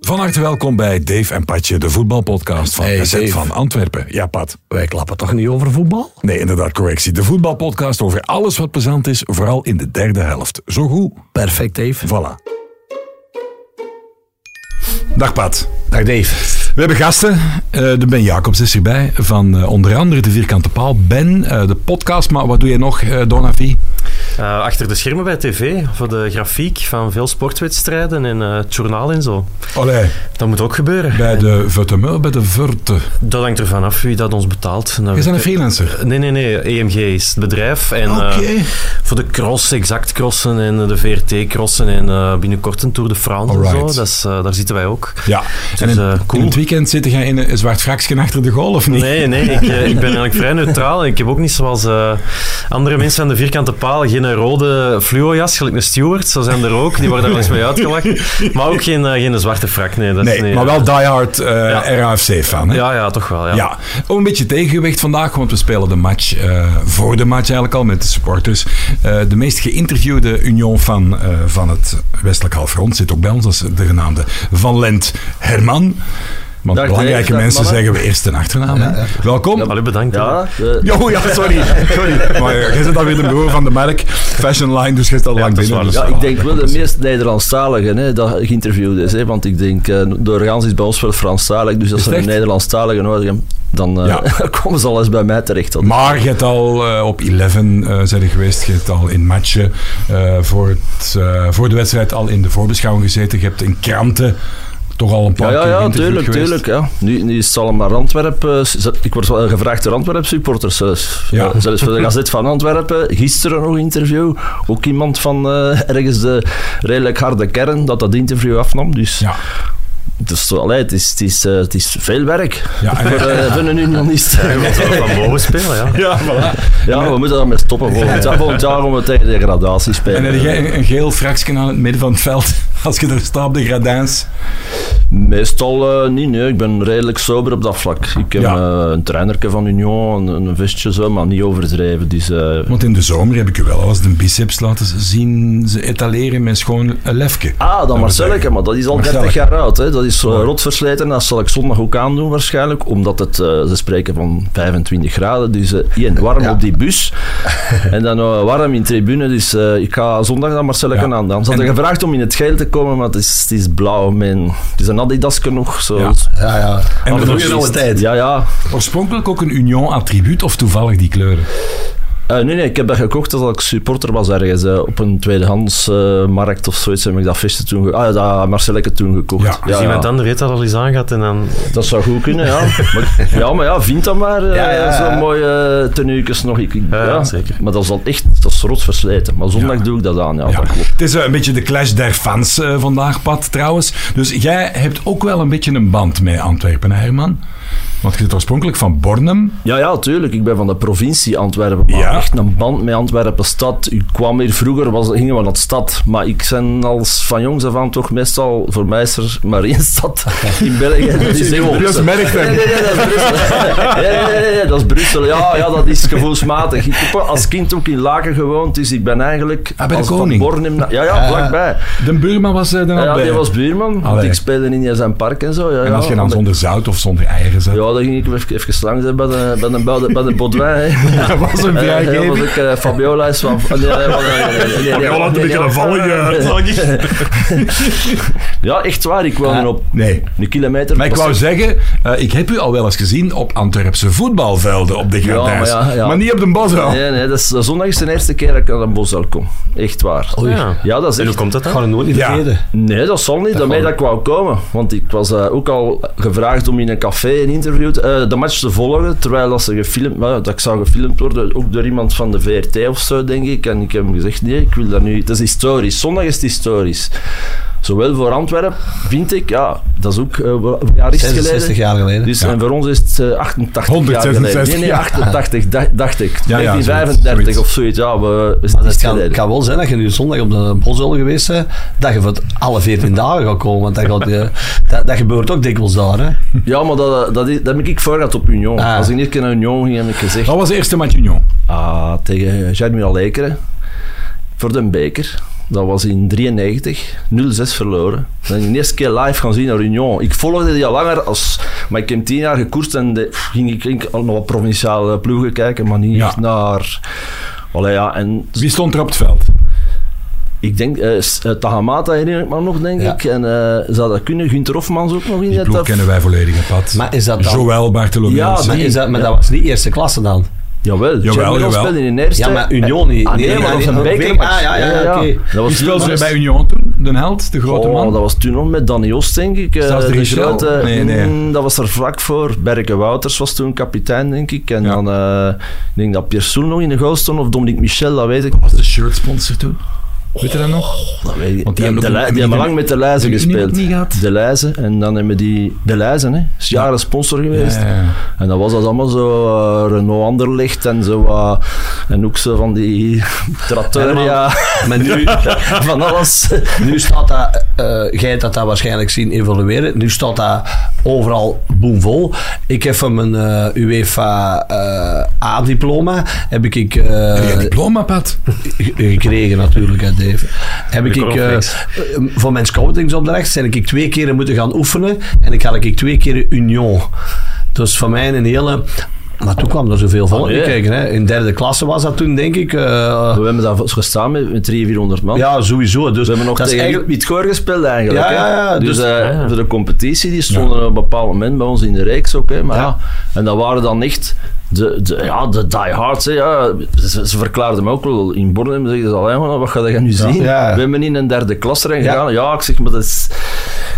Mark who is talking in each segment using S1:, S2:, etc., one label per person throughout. S1: Van harte welkom bij Dave en Patje, de voetbalpodcast van
S2: Hey,
S1: SZ
S2: Dave.
S1: van Antwerpen. Ja, Pat.
S2: Wij klappen toch niet over voetbal?
S1: Nee, inderdaad, correctie. De voetbalpodcast over alles wat plezant is, vooral in de derde helft. Zo goed.
S2: Perfect, Dave.
S1: Voilà. Dag Pat.
S2: Dag, Dave.
S1: We hebben gasten. Eh de Ben Jacobs is erbij. Van eh, onder andere de Vierkante Paal. Ben, eh, de podcast. Maar wat doe je nog, eh Donavi?
S3: Eh, achter de schermen bij tv voor de grafiek van veel sportwedstrijden en eh, het journaal en zo.
S1: Allee,
S3: Dat moet ook gebeuren.
S1: bij de Vutemeu, bij de Vurte.
S3: Dat hangt ervan af wie dat ons betaalt. Nou,
S1: Je bent een
S3: eh,
S1: freelancer.
S3: Nee, nee, nee. EMG is het bedrijf. En
S1: Oké.
S3: eh, voor de cross, exact crossen en eh, de VRT-crossen en eh, binnenkort een Tour de France en
S1: Alright.
S3: zo. Dat is, eh, daar zitten wij ook.
S1: Ja. En in,
S3: eh, cool.
S1: in het weekend zit jij in een zwart fraksje achter de goal, of niet?
S3: Nee, nee, ik, eh, ik ben eigenlijk vrij neutraal. Ik heb ook niet zoals eh, andere mensen aan de vierkante paal geen rode fluojas, gelijk een steward. Zo zijn er ook, die worden daar wel eens mee uitgelachen. Maar ook geen, eh, geen zwarte frak, nee. Dat is
S1: Nee,
S3: niet-
S1: maar wel diehard eh RAFC-fan. hè?
S3: Ja, ja, toch wel. Ja.
S1: Ja, ook een beetje tegengewicht vandaag, want we spelen de match eh, voor de match eigenlijk al met de supporters. Eh, de meest geïnterviewde Union van, van het westelijk halfrond zit ook bij ons, dat is de genaamde Van Lent Herman. Want
S4: Dag,
S1: belangrijke
S4: Dave. Dag,
S1: mensen
S4: mannen.
S1: zeggen we eerst een achternaam. hè. Welkom.
S3: Allee, bedankt. hè.
S4: Ja, de-
S1: Oh ja, sorry. sorry. Maar eh, jij zit alweer de broer van de merk Fashion Line, dus jij zit al lang
S3: dat is
S1: binnen.
S3: waar,
S1: dus-
S4: ja, ik denk
S1: Ah,
S4: wel de meest Nederlandstaligen hè, dat geïnterviewd is. Hè, want ik denk, eh, doorgaans is bij ons wel Franstalig. Dus als
S1: het
S4: ze een
S1: echt?
S4: Nederlandstalige nodig hebben, dan eh, komen ze al eens bij mij terecht. Dat-
S1: Maar je hebt al eh, op 11 eh zijn er geweest. Je hebt al in matchen eh, voor, het, eh, voor de wedstrijd al in de voorbeschouwing gezeten. Je hebt in kranten toch al een
S4: ja,
S1: paar
S4: ja,
S1: keer
S4: ja,
S1: geïnterviewd
S4: tuurlijk,
S1: geweest.
S4: tuurlijk. Ja. Nu, nu is het allemaal Antwerpen. Ik word wel gevraagd door Antwerp-supporters zelfs.
S1: Ja.
S4: Ja, zelfs eh, voor de Gazet van Antwerpen. Gisteren nog een interview. Ook iemand van eh, ergens de redelijk harde kern dat dat interview afnam. Dus,
S1: Ja,
S4: dus allee, het, is, het, is, eh, het is veel werk
S1: ja, en-
S4: voor, eh, voor een unionist.
S3: Je moet wel van boven spelen, ja.
S4: Ja, we moeten daarmee stoppen volgend jaar. Volgend jaar gaan we tegen degradatie
S1: en
S4: spelen.
S1: heb jij een, een geel fraksje aan het midden van het veld als je er staat op de gradijns?
S4: Meestal eh, niet, nee. Ik ben redelijk sober op dat vlak. Ik heb
S1: Ja.
S4: eh, een trainerke van Union, een, een vestje zo, maar niet overdreven. Dus, eh,
S1: Want in de zomer heb ik je wel al eens de biceps laten zien ze etaleren met schoon een lefke.
S4: Ah, dat
S1: we
S4: Marcelleke,
S1: zeggen.
S4: maar dat is al 30
S1: Marcelleke.
S4: jaar oud. Hè. Dat is zo rotversleten. Dat zal ik zondag ook aandoen waarschijnlijk. Omdat het, eh, ze spreken van 25 graden. Dus eh Ian, warm op die bus. en dan eh, warm in tribune. Dus eh, ik ga zondag naar Marcelleke
S1: Ja.
S4: aan. Dan
S1: En-
S4: hadden gevraagd om in het geel te komen, maar het is, het is blauw. Man. Het is een Adidas genoeg. Zo.
S1: Ja.
S2: Ja, ja.
S1: En
S4: Anders
S1: dat
S2: doe je
S4: is-
S2: al een tijd.
S4: Ja, ja.
S1: Oorspronkelijk ook een Union-attribuut of toevallig die kleuren?
S4: Eh, nee, nee, ik heb dat gekocht als ik supporter was ergens. eh, op een tweedehandsmarkt markt of zoiets heb ik dat visje toen gekocht. Ah, ja, dat Marcelleke toen gekocht.
S1: Ja. dus
S3: Als iemand anders weet dat al eens aangaat en dan...
S4: Dat zou goed kunnen, ja. Maar, ja, maar ja, vind dat maar. eh,
S2: Ja, ja, ja.
S4: Zo'n mooie eh, tenuukjes nog. Ik, ik-
S3: Ja,
S4: ja,
S3: zeker.
S4: Maar dat is dan echt, dat is rot versleten. Maar zondag
S1: Ja.
S4: doe ik dat aan, ja,
S1: Ja.
S4: dat klopt.
S1: Het is eh, een beetje de clash der fans eh, vandaag, Pat, trouwens. Dus jij hebt ook wel een beetje een band met Antwerpen, hè, Herman? Want je zit oorspronkelijk van Bornem.
S4: Ja, ja, tuurlijk. Ik ben van de provincie Antwerpen. Maar
S1: Ja.
S4: echt een band met Antwerpen-stad. Ik kwam hier vroeger, was, gingen we naar de stad. Maar ik ben als van jongs af aan toch meestal... Voor mij is er maar één stad in België. Dat is Eeuwarden.
S1: merkt
S4: Nee, nee, nee, dat is Brussel. Nee, nee, nee, nee, nee, dat is Brussel. Ja, ja, dat is gevoelsmatig. Ik heb als kind ook in Laken gewoond, dus ik ben eigenlijk...
S1: Ah, bij de
S4: als
S1: koning.
S4: Van Bornem naar- ja, ja, vlakbij.
S1: De buurman was eh, er
S4: Ja,
S1: al bij.
S4: die was buurman. want
S1: Allee.
S4: Ik speelde in zijn park en zo. Ja,
S1: en als je
S4: ja,
S1: dan zonder zout of zonder eieren zat.
S4: Ja, dan ging ik even, even langs hè, bij de, bij de, bij de, bij de Baudouin, hè.
S1: Dat was een
S4: Eh,
S1: vrijgeving.
S4: dat was ook eh, Fabiola is van. Nee, nee, nee, nee, nee, nee, nee,
S1: Fabiola had een
S4: nee,
S1: beetje
S4: nee,
S1: een eh, vallige-
S4: Ja, echt waar. Ik woonde op
S1: Ah, Nee.
S4: een kilometer.
S1: Maar ik wou zeggen, eh, ik heb u al wel eens gezien op Antwerpse voetbalvelden op de Gradijs.
S4: maar ja, ja.
S1: niet op de Bosel.
S4: Nee, nee, dat is, zondag is de eerste keer dat ik naar een bosal kom. Echt waar.
S3: Ja.
S4: Ja, dat is
S3: En hoe
S4: echt...
S3: komt dat dan?
S2: Gewoon nooit niet
S1: Ja.
S2: vergeten.
S4: Nee, dat zal niet. Daarmee dat ik wou komen. Want ik was eh, ook al gevraagd om in een café een interview te- eh, de match te volgen. Terwijl dat, ze gefilmd, maar ja, dat ik zou gefilmd worden, ook door iemand van de VRT of zo, denk ik. En ik heb hem gezegd, nee, ik wil dat nu... Het is historisch. Zondag is het historisch. Zowel voor Antwerpen, vind ik, ja, dat is ook eh, wel- een jaar is het geleden.
S2: 66 jaar geleden.
S4: Dus,
S1: Ja.
S4: En voor ons is het eh, 88 jaar geleden.
S1: 166
S4: Nee, nee,
S1: jaar.
S4: 88, dacht, dacht ik.
S1: Ja, ja,
S4: 1935
S1: zoiets.
S4: of zoiets. Ja, we, is het
S2: Maar het
S4: is het
S2: Ah, kan,
S4: geleden.
S2: kan wel zijn dat je nu zondag op de Bosel geweest bent, dat je voor het alle 14 dagen gaat komen. Want dat, gaat, eh, dat, dat gebeurt ook dikwijls daar. Hè.
S4: Ja, maar dat, dat, is- dat ben ik voor gehad op Union.
S2: Ah. Oh.
S4: Als ik niet keer naar Union ging, heb ik gezegd...
S1: Dat was de eerste match Union.
S4: Ah, tegen Jeremy Lekeren. Voor de beker. Dat was in 93, 0-6 verloren. Dan de eerste keer live gaan zien naar Union. Ik volgde die al langer, als, maar ik heb tien jaar gekoerst en de, pff, ging ik, ging ik nog wat provinciale ploegen kijken, maar niet
S1: Ja.
S4: echt naar... Allee, ja, en
S1: Wie stond er op het veld?
S4: ik denk, eh, S- eh, Tahamata herinner ik me nog, denk
S2: Ja.
S4: ik. En eh, zou dat kunnen? Gunther Hofmans ook nog in
S1: Die
S4: het
S1: ploeg
S4: af-
S1: kennen wij volledig op pad.
S2: Maar is dat dan...
S1: Joël Bartholomew.
S4: Ja,
S2: Maar, is dat, maar dat was niet eerste klasse dan?
S4: Jawel, Champions
S1: jawel.
S4: speelde in eerste.
S2: Ja, maar Union niet.
S4: Ah, nee, maar dat was een bekermatch.
S2: Ah, ja, ja, ja, oké.
S4: Dat
S1: Wie
S4: was
S1: speelde
S4: toen-
S1: er bij Union toen? Den Held, de grote
S4: Oh,
S1: man?
S4: dat was toen nog met Danny Oost, denk ik. eh,
S1: Zelfs de
S4: de
S1: Richel?
S4: grote-
S1: Nee, nee.
S4: Mm, dat was er vlak voor. Berke Wouters was toen kapitein, denk ik. En
S1: Ja.
S4: dan, eh, ik denk dat Pierre Soel nog in de goal stond, of Dominique Michel, dat weet ik.
S1: was de shirt sponsor toen. Weet je Oh, dat nog?
S4: Dat weet
S1: Want
S4: ik. die
S1: die hebben
S4: hebben, de
S1: ook-
S4: Lei-
S1: hebben
S4: die hebben
S1: die
S4: lang met de Leizen
S1: hebben die
S4: gespeeld.
S1: niet gehad?
S4: De Leizen. En dan hebben die... De Leizen, hè. Is jaren sponsor geweest.
S1: Ja.
S4: En dan was dat allemaal zo eh, Renault Anderlicht en zo. eh, en ook zo van die Trattoria.
S2: Maar nu,
S4: van alles.
S2: nu staat dat... eh jij hebt dat, dat waarschijnlijk zien evolueren. Nu staat dat overal boemvol. Ik heb van mijn eh, UEFA eh, A-diploma heb ik... ik eh,
S1: Uh, diploma, Pat.
S2: ge- gekregen natuurlijk, hè, Dave. Heb ik,
S3: De
S2: ik eh,
S3: cornflakes.
S2: voor mijn scoutingsopdracht zijn ik, ik twee keren moeten gaan oefenen en ik had ik ik twee keren Union. Dus voor mij een hele... Maar toen kwam er
S3: Ah,
S2: zoveel volk
S4: Allee.
S2: kijken. Hè. In derde klasse was dat toen, denk ik. eh,
S4: We hebben daar gestaan met, met 300, 400 man.
S2: ja, sowieso. Dus
S4: We hebben nog
S2: dat is
S4: tegen
S2: eigenlijk-
S4: Wietgoor gespeeld eigenlijk.
S2: Ja,
S4: hè.
S2: ja, ja,
S4: Dus,
S2: dus-
S4: eh,
S3: ja.
S4: voor de competitie, die stonden op een bepaald moment bij ons in de reeks ook. Hè, maar
S2: Ja.
S4: ja. en dat waren dan echt de, de, ja, de diehards. Hè, ja. ze, ze verklaarden me ook wel in Bornem. Ze zeiden, "Allee, man, wat ga je nu zien?
S2: Ja.
S4: We hebben in een derde klas erin gegaan. Ja, ik zeg, maar dat is...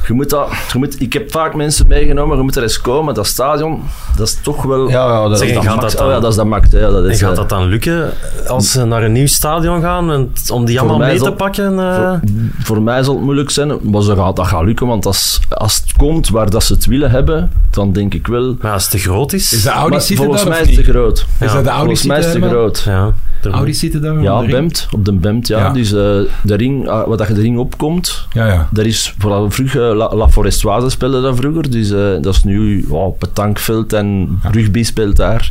S4: Je moet dat, je moet, ik heb vaak mensen meegenomen, je moet er eens komen. Dat stadion, dat is toch wel...
S2: ja, ja, dat,
S4: dat is
S3: Zeg,
S4: dat
S3: gaat
S4: max-
S3: dat dan-
S4: oh ja, dat is dat max. hè, Ja, dat
S3: En
S4: is,
S3: gaat
S4: eh,
S3: dat dan lukken als ze naar een nieuw stadion gaan en t- om die
S4: Voor
S3: allemaal
S4: mij
S3: mee
S4: zal-
S3: te pakken? eh?
S4: Voor, voor mij zal het moeilijk zijn, maar ze gaat, dat gaat lukken. Want als, als het komt waar dat ze het willen hebben, dan denk ik wel...
S3: Maar als het te groot is...
S1: Is de
S4: Maar
S1: Audi zitten
S4: volgens
S1: daar
S4: mij
S1: of
S4: is het te
S1: niet?
S4: groot.
S1: Is
S3: Ja,
S1: dat de Audi
S4: volgens mij is het te
S1: groot.
S4: groot.
S3: Ja, er-
S1: Audi zitten daar?
S4: Ja,
S1: op de ring?
S4: Bemt, op de Bemt, ja.
S1: Ja.
S4: Dus eh, de ring, eh, wat dat je de ring opkomt,
S1: Ja, ja.
S4: dat is vooral vroeger, eh, La, La Forestoise speelde dat vroeger, dus eh, dat is nu wow, petankveld en rugby speelt daar.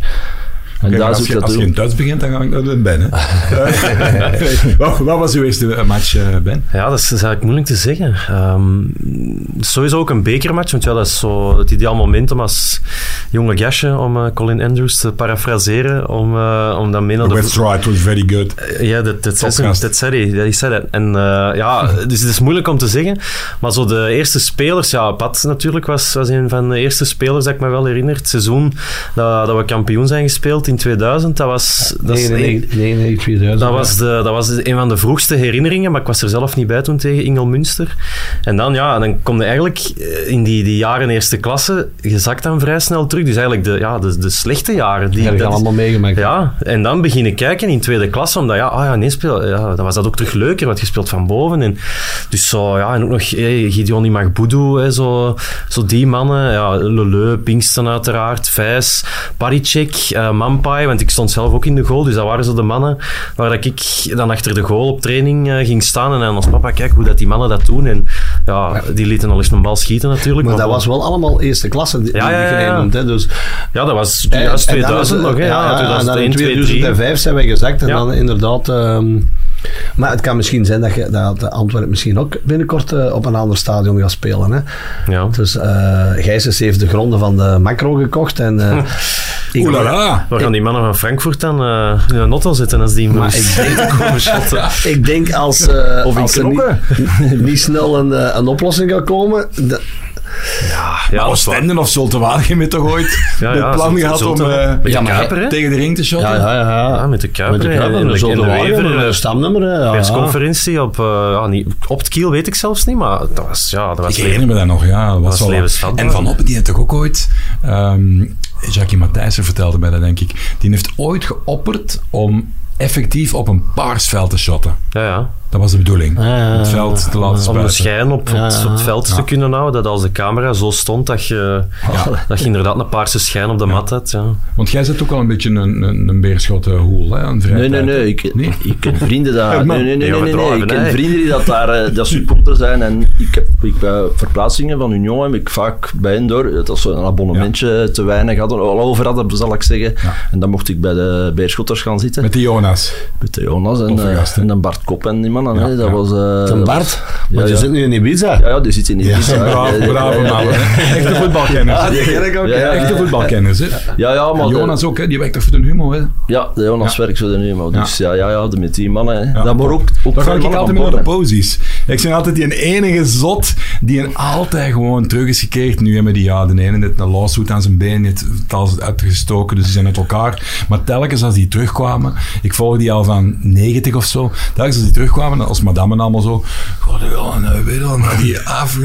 S4: En
S1: Oké, maar
S4: daar
S1: als,
S4: zoek
S1: je,
S4: dat
S1: als je
S4: ook.
S1: in Duits begint, dan ga ik naar de Ben. Hè. Eh, wat, wat was uw eerste eh, match, eh, Ben?
S3: Ja, dat is, dat is eigenlijk moeilijk te zeggen. Ehm, sowieso ook een bekermatch, want ja, dat is zo het ideaal momentum als jonge gastje, om eh, Colin Andrews te parafraseren, om, eh, om dan mee naar
S1: The
S3: de...
S1: West Right was very good.
S3: Ja, dat, dat, zei,
S1: Topgast.
S3: ze- dat zei hij. Dat zei dat. En eh, ja, dus het is moeilijk om te zeggen. Maar zo de eerste spelers, ja, Pat natuurlijk was, was een van de eerste spelers dat ik me wel herinner. Het seizoen dat, dat we kampioen zijn gespeeld in 2000, dat was... Dat is-
S2: 99, 99, 2000.
S3: dat was, de, dat was een van de vroegste herinneringen, maar ik was er zelf niet bij toen tegen Ingel Münster. En dan, ja, dan kom je eigenlijk eh, in die, die jaren eerste klasse, je zakt dan vrij snel terug. Dus eigenlijk de, ja, de, de slechte jaren. Die,
S2: Die heb ik
S3: dat is-
S2: allemaal meegemaakt.
S3: ja, en dan beginnen kijken in tweede klasse, omdat ja, ah ja, nee, speel, ja, dan was dat ook terug leuker, want je speelt van boven. En, dus zo, ja, en ook nog hey, Gideon Magboudou, hè, zo, zo die mannen. Ja, Leleu, Pinksten uiteraard, Vijs, Paricek, eh Mampai, want ik stond zelf ook in de goal, dus dat waren zo de mannen waar dat ik dan achter de goal op training eh, ging staan. En dan als papa, kijk hoe dat die mannen dat doen. En ja, die lieten al eens een bal schieten natuurlijk.
S2: Maar dat was wel allemaal eerste klasse die,
S3: Ja,
S2: die
S3: ja, ja,
S2: jij
S3: ja.
S2: noemt, Hè, dus
S3: Ja, dat was
S2: En-
S3: juist
S2: en dan is
S3: 2000
S2: het-
S3: nog, hè. Ja,
S2: ja, en dan
S3: 2001,
S2: in
S3: 2003.
S2: 2005 zijn wij gezakt en
S3: Ja.
S2: dan inderdaad... ehm, maar het kan misschien zijn dat, je, dat de Antwerpen misschien ook binnenkort eh, op een ander stadion gaat spelen. Hè?
S3: Ja.
S2: Dus eh Gijsens heeft de gronden van de macro gekocht. En, eh, ik-
S1: Oelala.
S3: Waar gaan die mannen van Frankfurt dan eh, in een auto zitten als die
S2: Maar ik denk,
S3: komen
S2: eh,
S3: shotten?
S2: ik denk als, eh,
S4: Of in
S2: als er niet,
S4: knokken.
S2: niet snel een, eh, een oplossing gaat komen, dat-
S3: Ja, dat is waar.
S1: Oostenden of Zulte Waregem heeft toch ooit
S3: Ja,
S1: het
S3: ja,
S1: plan
S3: Zulte-
S1: gehad om
S3: Zulte.
S1: eh,
S3: Met de
S2: Ja, maar hij-
S3: Kuiper, hè?
S1: tegen de ring te shotten?
S2: ja, ja, ja.
S3: Ja, met de Kuiper,
S2: Met de Kuiper,
S3: en
S2: en
S3: de-
S2: zo
S3: en
S2: de
S3: de
S2: Wagen,
S3: Wever,
S2: een
S3: eh,
S2: stamnummer. hè, ja, ja.
S3: persconferentie op, eh, ja, niet, op het kiel weet ik zelfs niet, maar dat was, ja, dat
S1: Ik
S3: was
S1: herinner me dat nog, ja. Dat was
S3: was
S1: wel-
S3: levensvatbaar.
S1: en Van Oppen, die heeft toch ook ooit... ehm Jackie Matthijssen vertelde mij dat, denk ik. Die heeft ooit geopperd om effectief op een paarsveld te shotten.
S3: Ja, ja.
S1: Dat was de
S4: Ah,
S1: bedoeling.
S2: ja,
S1: het veld te laten
S3: Om de
S4: dus
S1: spuiten.
S3: schijn op, op,
S2: Ja,
S3: het- op het veld
S1: ja.
S3: te kunnen houden, dat als de camera zo stond dat je, dat je inderdaad een paarse schijn op de mat had. Ja.
S1: Want jij zit ook al een beetje een, een, een beerschotten hoel, hè? Een vrije
S4: Nee, nee,
S1: tijd, hè?
S4: nee. Ik,
S1: Nee?
S4: ik ken vrienden
S1: Ja,
S4: daar.
S1: man.
S4: Nee, nee, nee,
S3: Ja,
S4: nee, nee, nee.
S3: overdrijven,
S4: Ik ken
S3: hè.
S4: vrienden die dat daar eh, dat supporter zijn. En ik heb ik, eh, verplaatsingen van Union heb ik vaak bij hen door. Dat ze een abonnementje te weinig hadden, al over hadden, zal ik zeggen.
S1: Ja.
S4: En dan mocht ik bij de Beerschotters gaan zitten.
S1: Met die Johan Jonas.
S4: Peter Jonas en,
S1: Toffe
S4: eh,
S1: gast, hè?
S4: en dan Bart Kop en die mannen.
S1: Ja,
S4: hè. dat
S1: ja.
S4: was... eh,
S2: Van
S4: dat
S2: Bart, maar
S4: ja.
S2: die zit nu in Ibiza.
S4: was- Ja, ja, die zit in die eh,
S1: Ja,
S4: pizza.
S1: bravo, bravo, mannen. Echte voetbalkennis.
S4: Ja, Ah, die ken ik ook, ja. eh,
S1: Echte voetbalkennis, hè.
S4: Ja, ja, maar...
S1: En
S4: de-
S1: Jonas ook, hè. Die werkt toch voor de humo, hè.
S4: Ja, de Jonas
S1: Ja.
S4: werkt voor de nummer.
S1: Ja.
S4: Dus ja, ja, ja, de- met die mannen. Hè.
S1: Ja,
S4: dat maar
S1: top.
S4: ook... ook
S1: Daar
S4: veel
S1: ga ik
S4: mannen
S1: altijd
S4: van
S1: mee naar de
S4: Borne.
S1: posies. Ik ben altijd die enige zot die een altijd gewoon terug is gekeerd. Nu hebben die ja, de ene net een lawsuit aan zijn been, net taal uitgestoken, dus die zijn uit elkaar. Maar telkens als die terugkwamen, ik volg die al van 90 of zo, telkens als die terugkwamen, als madame en allemaal zo, god ja, nou, weet je wel, maar die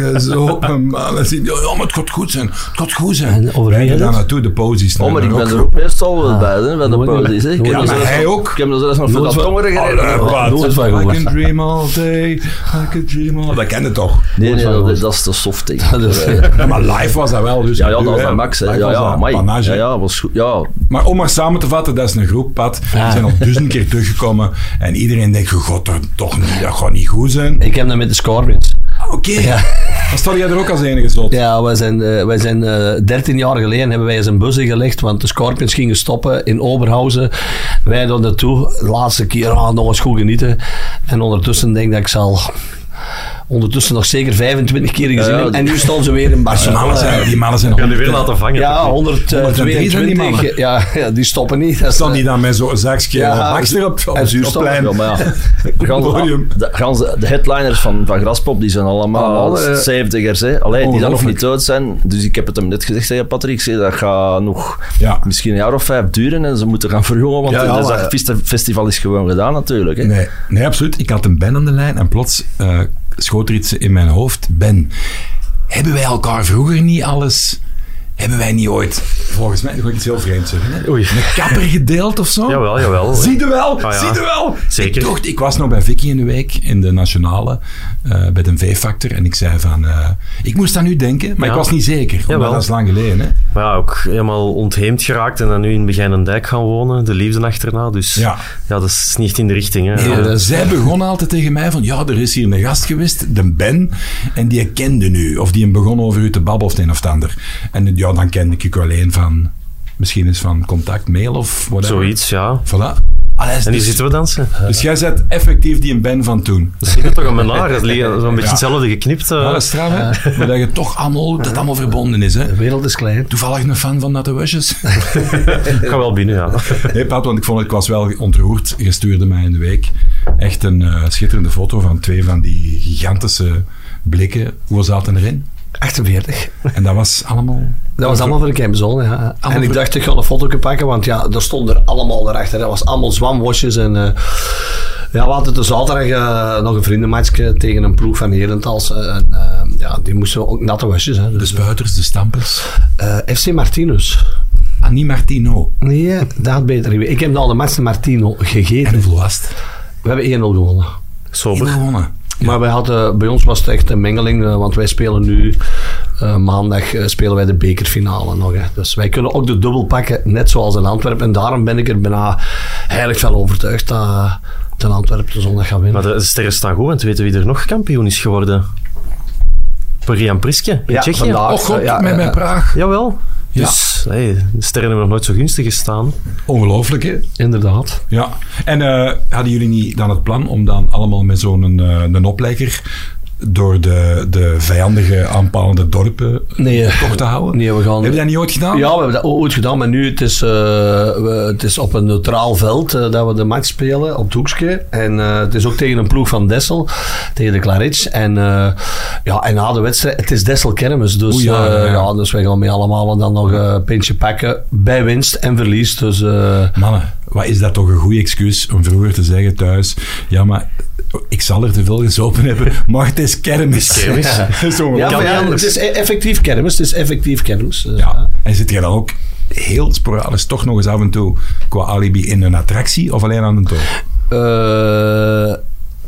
S1: afgezopen man. En ze- Ja, maar het gaat goed zijn, het gaat goed zijn.
S2: En over
S1: Wij gaan
S2: wie gaat
S1: daar
S2: het?
S1: naartoe, de posies.
S4: Oh, maar ik
S1: Dan
S4: ben
S1: ook.
S4: er ook meestal wel
S2: Ah.
S4: bij, hè, bij de
S2: Nooit meer.
S4: posies. hè. Ik heb
S2: Ja,
S4: er
S2: maar
S4: zelfs
S1: hij
S4: nog-
S1: ook.
S4: Ik heb dus er zelfs nog voor
S2: Nooit
S4: dat
S2: van-
S4: tongeren
S1: Allee,
S4: gereden.
S1: wat?
S2: nooit van gehoord.
S1: I can dream all day, I can dream all Oh, Dat kende toch?
S4: Nee, nee,
S2: van
S4: dat
S2: gehoord.
S4: is- dat is te soft, denk
S2: Dat is-
S4: ik.
S1: Ja, maar live was dat wel. Dus
S4: Ja, ja, dat was
S1: hè.
S4: dat Max. Hè.
S1: Live
S4: Ja,
S1: was
S4: ja,
S1: dat
S4: amai.
S1: panage.
S4: Ja, ja, was goed. Ja,
S1: Maar om maar samen te vatten, dat is een groep, Pat.
S2: Ja.
S1: Die zijn al duizend keer teruggekomen. En iedereen denkt, god, dat, toch niet, dat gaat niet goed zijn. Ah,
S2: Ik heb dat met de Scorpions.
S1: Oké. Dan sta jij er ook als enige zot.
S2: Ja, wij zijn, eh, wij zijn eh, 13 jaar geleden hebben wij eens een bus ingelegd, want de Scorpions gingen stoppen in Oberhausen. Wij daar naartoe, de laatste keer ah, nog eens goed genieten. En ondertussen denk ik dat ik zal ondertussen nog zeker 25 keer gezien
S4: Ja, ja,
S2: hebben.
S4: die-
S2: En nu staan ze weer in
S1: Die mannen
S2: Barcelona.
S1: zijn, die mannen zijn
S3: Ik kan u weer laten vangen.
S2: Ja,
S1: 103 zijn die mannen.
S2: 122. Ja, ja, die stoppen niet. Dat is,
S1: Staan die dan met zo'n zakje
S2: Ja,
S1: Max erop op, op,
S2: en
S1: het
S2: zuurstof.
S1: plein?
S4: Ja, maar ja. Gans-
S1: Podium.
S4: de, gans- de headliners van, van Graspop, die zijn allemaal
S2: Allemaal, eh,
S4: 70ers. Hè. Allee, die dan nog
S1: Ongelooflijk.
S4: niet dood zijn. Dus ik heb het hem net gezegd tegen Patrick. Ik zei, dat gaat nog
S1: Ja.
S4: misschien een jaar of vijf duren en ze moeten gaan verjongen. Want
S1: Ja, ja,
S4: dus
S1: maar-
S4: dat fiste- festival is gewoon gedaan natuurlijk. Hè.
S1: Nee, nee, absoluut. Ik had een Ben aan de lijn en plots eh, schoot er iets in mijn hoofd. Ben, hebben wij elkaar vroeger niet alles... Hebben wij niet ooit, volgens mij, dan ga ik iets heel vreemds zeggen, hè?
S3: Oei.
S1: een kapper gedeeld of zo?
S3: Jawel, jawel.
S1: Zie je wel,
S3: Ah, ja.
S1: zie je wel.
S3: Zeker.
S1: Ik, dacht, ik was nog bij Vicky in de week, in de Nationale, eh, bij de V-Factor. En ik zei van, eh, ik moest aan u denken, maar
S3: Ja.
S1: ik was niet zeker. omdat
S3: Jawel.
S1: dat is lang geleden. Hè?
S3: Maar ja, ook helemaal ontheemd geraakt en dan nu in Begijnendijk gaan wonen. De liefde achterna. Dus
S1: Ja.
S3: ja, dat is niet in de richting. Hè.
S1: Ja,
S3: Ja.
S1: dat- Zij begon altijd tegen mij van, ja, er is hier een gast geweest, de Ben, en die kende u. Of die hem begon over u te babbelen of het een of het ander. En ja, dan kende ik u alleen van, misschien eens van contact, mail of whatever.
S3: Zoiets, ja.
S1: Voilà.
S2: eh, ah,
S1: Allee,
S3: En hier
S1: dus,
S3: zitten we dansen.
S1: dus jij bent effectief die een Ben van toen.
S3: Dat zit toch aan mijn haar. Dat ligt zo'n beetje
S1: Ja.
S3: hetzelfde geknipt. eh.
S1: Ja, dat is straf, hè? Maar dat je toch allemaal, dat allemaal verbonden is, hè?
S2: De wereld is klein.
S1: Toevallig een fan van Natte Wushes.
S3: Ik ga wel binnen, ja.
S1: Nee, Pat, want ik vond het, ik was wel ontroerd. Je stuurde mij in de week echt een eh, schitterende foto van twee van die gigantische blikken. Hoeveel zaten erin?
S2: 48.
S1: En dat was allemaal...
S2: Dat was allemaal voor de Camzone, ja. En ik
S1: voor-
S2: dacht, ik ga een foto pakken, want ja, daar stond er allemaal erachter. Dat was allemaal zwamwasjes en... eh, ja, we hadden dus zaterdag eh, nog een vriendenmatchje tegen een ploeg van Herentals. eh, en, eh, ja, die moesten ook natte wasjes, hè.
S1: De
S2: Dus,
S1: spuiters, de stampers.
S2: eh, FC Martinus.
S1: Annie Martino.
S2: Nee, dat had beter geweest. Ik heb al de match Martino
S1: En
S2: gegeten.
S1: hoeveel was het?
S2: We hebben 1-0 gewonnen.
S1: Eén
S3: Sober.
S1: gewonnen.
S2: Maar wij hadden, bij ons was het echt een mengeling, eh, want wij spelen nu eh, maandag eh, spelen wij de bekerfinale nog. Hè. Dus wij kunnen ook de dubbel pakken, net zoals in Antwerpen. En daarom ben ik er bijna heilig van overtuigd dat, eh, dat Antwerpen de zondag gaat winnen.
S3: Maar de sterren staan goed, want weten wie er nog kampioen is geworden? Parian Priske in Tsjechië.
S1: Oh god,
S2: eh, ja,
S1: met
S2: eh,
S1: mijn Praag.
S3: Jawel.
S1: Ja.
S3: Dus hey, de sterren hebben nog nooit zo gunstig gestaan.
S1: Ongelooflijk, hè?
S2: Inderdaad.
S1: Ja. En eh, hadden jullie niet dan het plan om dan allemaal met zo'n eh, een oplegger door de, de vijandige aanpalende dorpen
S2: Nee, eh,
S1: toch te houden?
S2: nee, we gaan...
S1: Heb je dat niet ooit gedaan?
S2: Ja, we hebben dat ooit gedaan, maar nu het is, eh, we- het is op een neutraal veld eh, dat we de match spelen, op het hoekje. En eh, het is ook tegen een ploeg van Dessel, tegen de Clarits. En, eh, ja, en na de wedstrijd, het is Dessel Kermis, dus,
S1: Oei, ja,
S2: eh,
S1: ja,
S2: ja,
S1: ja.
S2: dus wij gaan mee allemaal dan nog eh, een pintje pakken bij winst en verlies. Dus, eh,
S1: Mannen, wat is dat toch een goede excuus om vroeger te zeggen thuis... Ja, maar ik zal er te veel gezopen hebben, maar het is kermis.
S3: kermis.
S1: Dat is ongelooflijk.
S2: ja, maar ja,
S3: anders.
S2: het is e- effectief Kermis, het is effectief Kermis. Dus,
S1: Ja, en zit je dan ook heel sporadisch toch nog eens af en toe qua alibi in een attractie of alleen aan een toon?
S2: eh,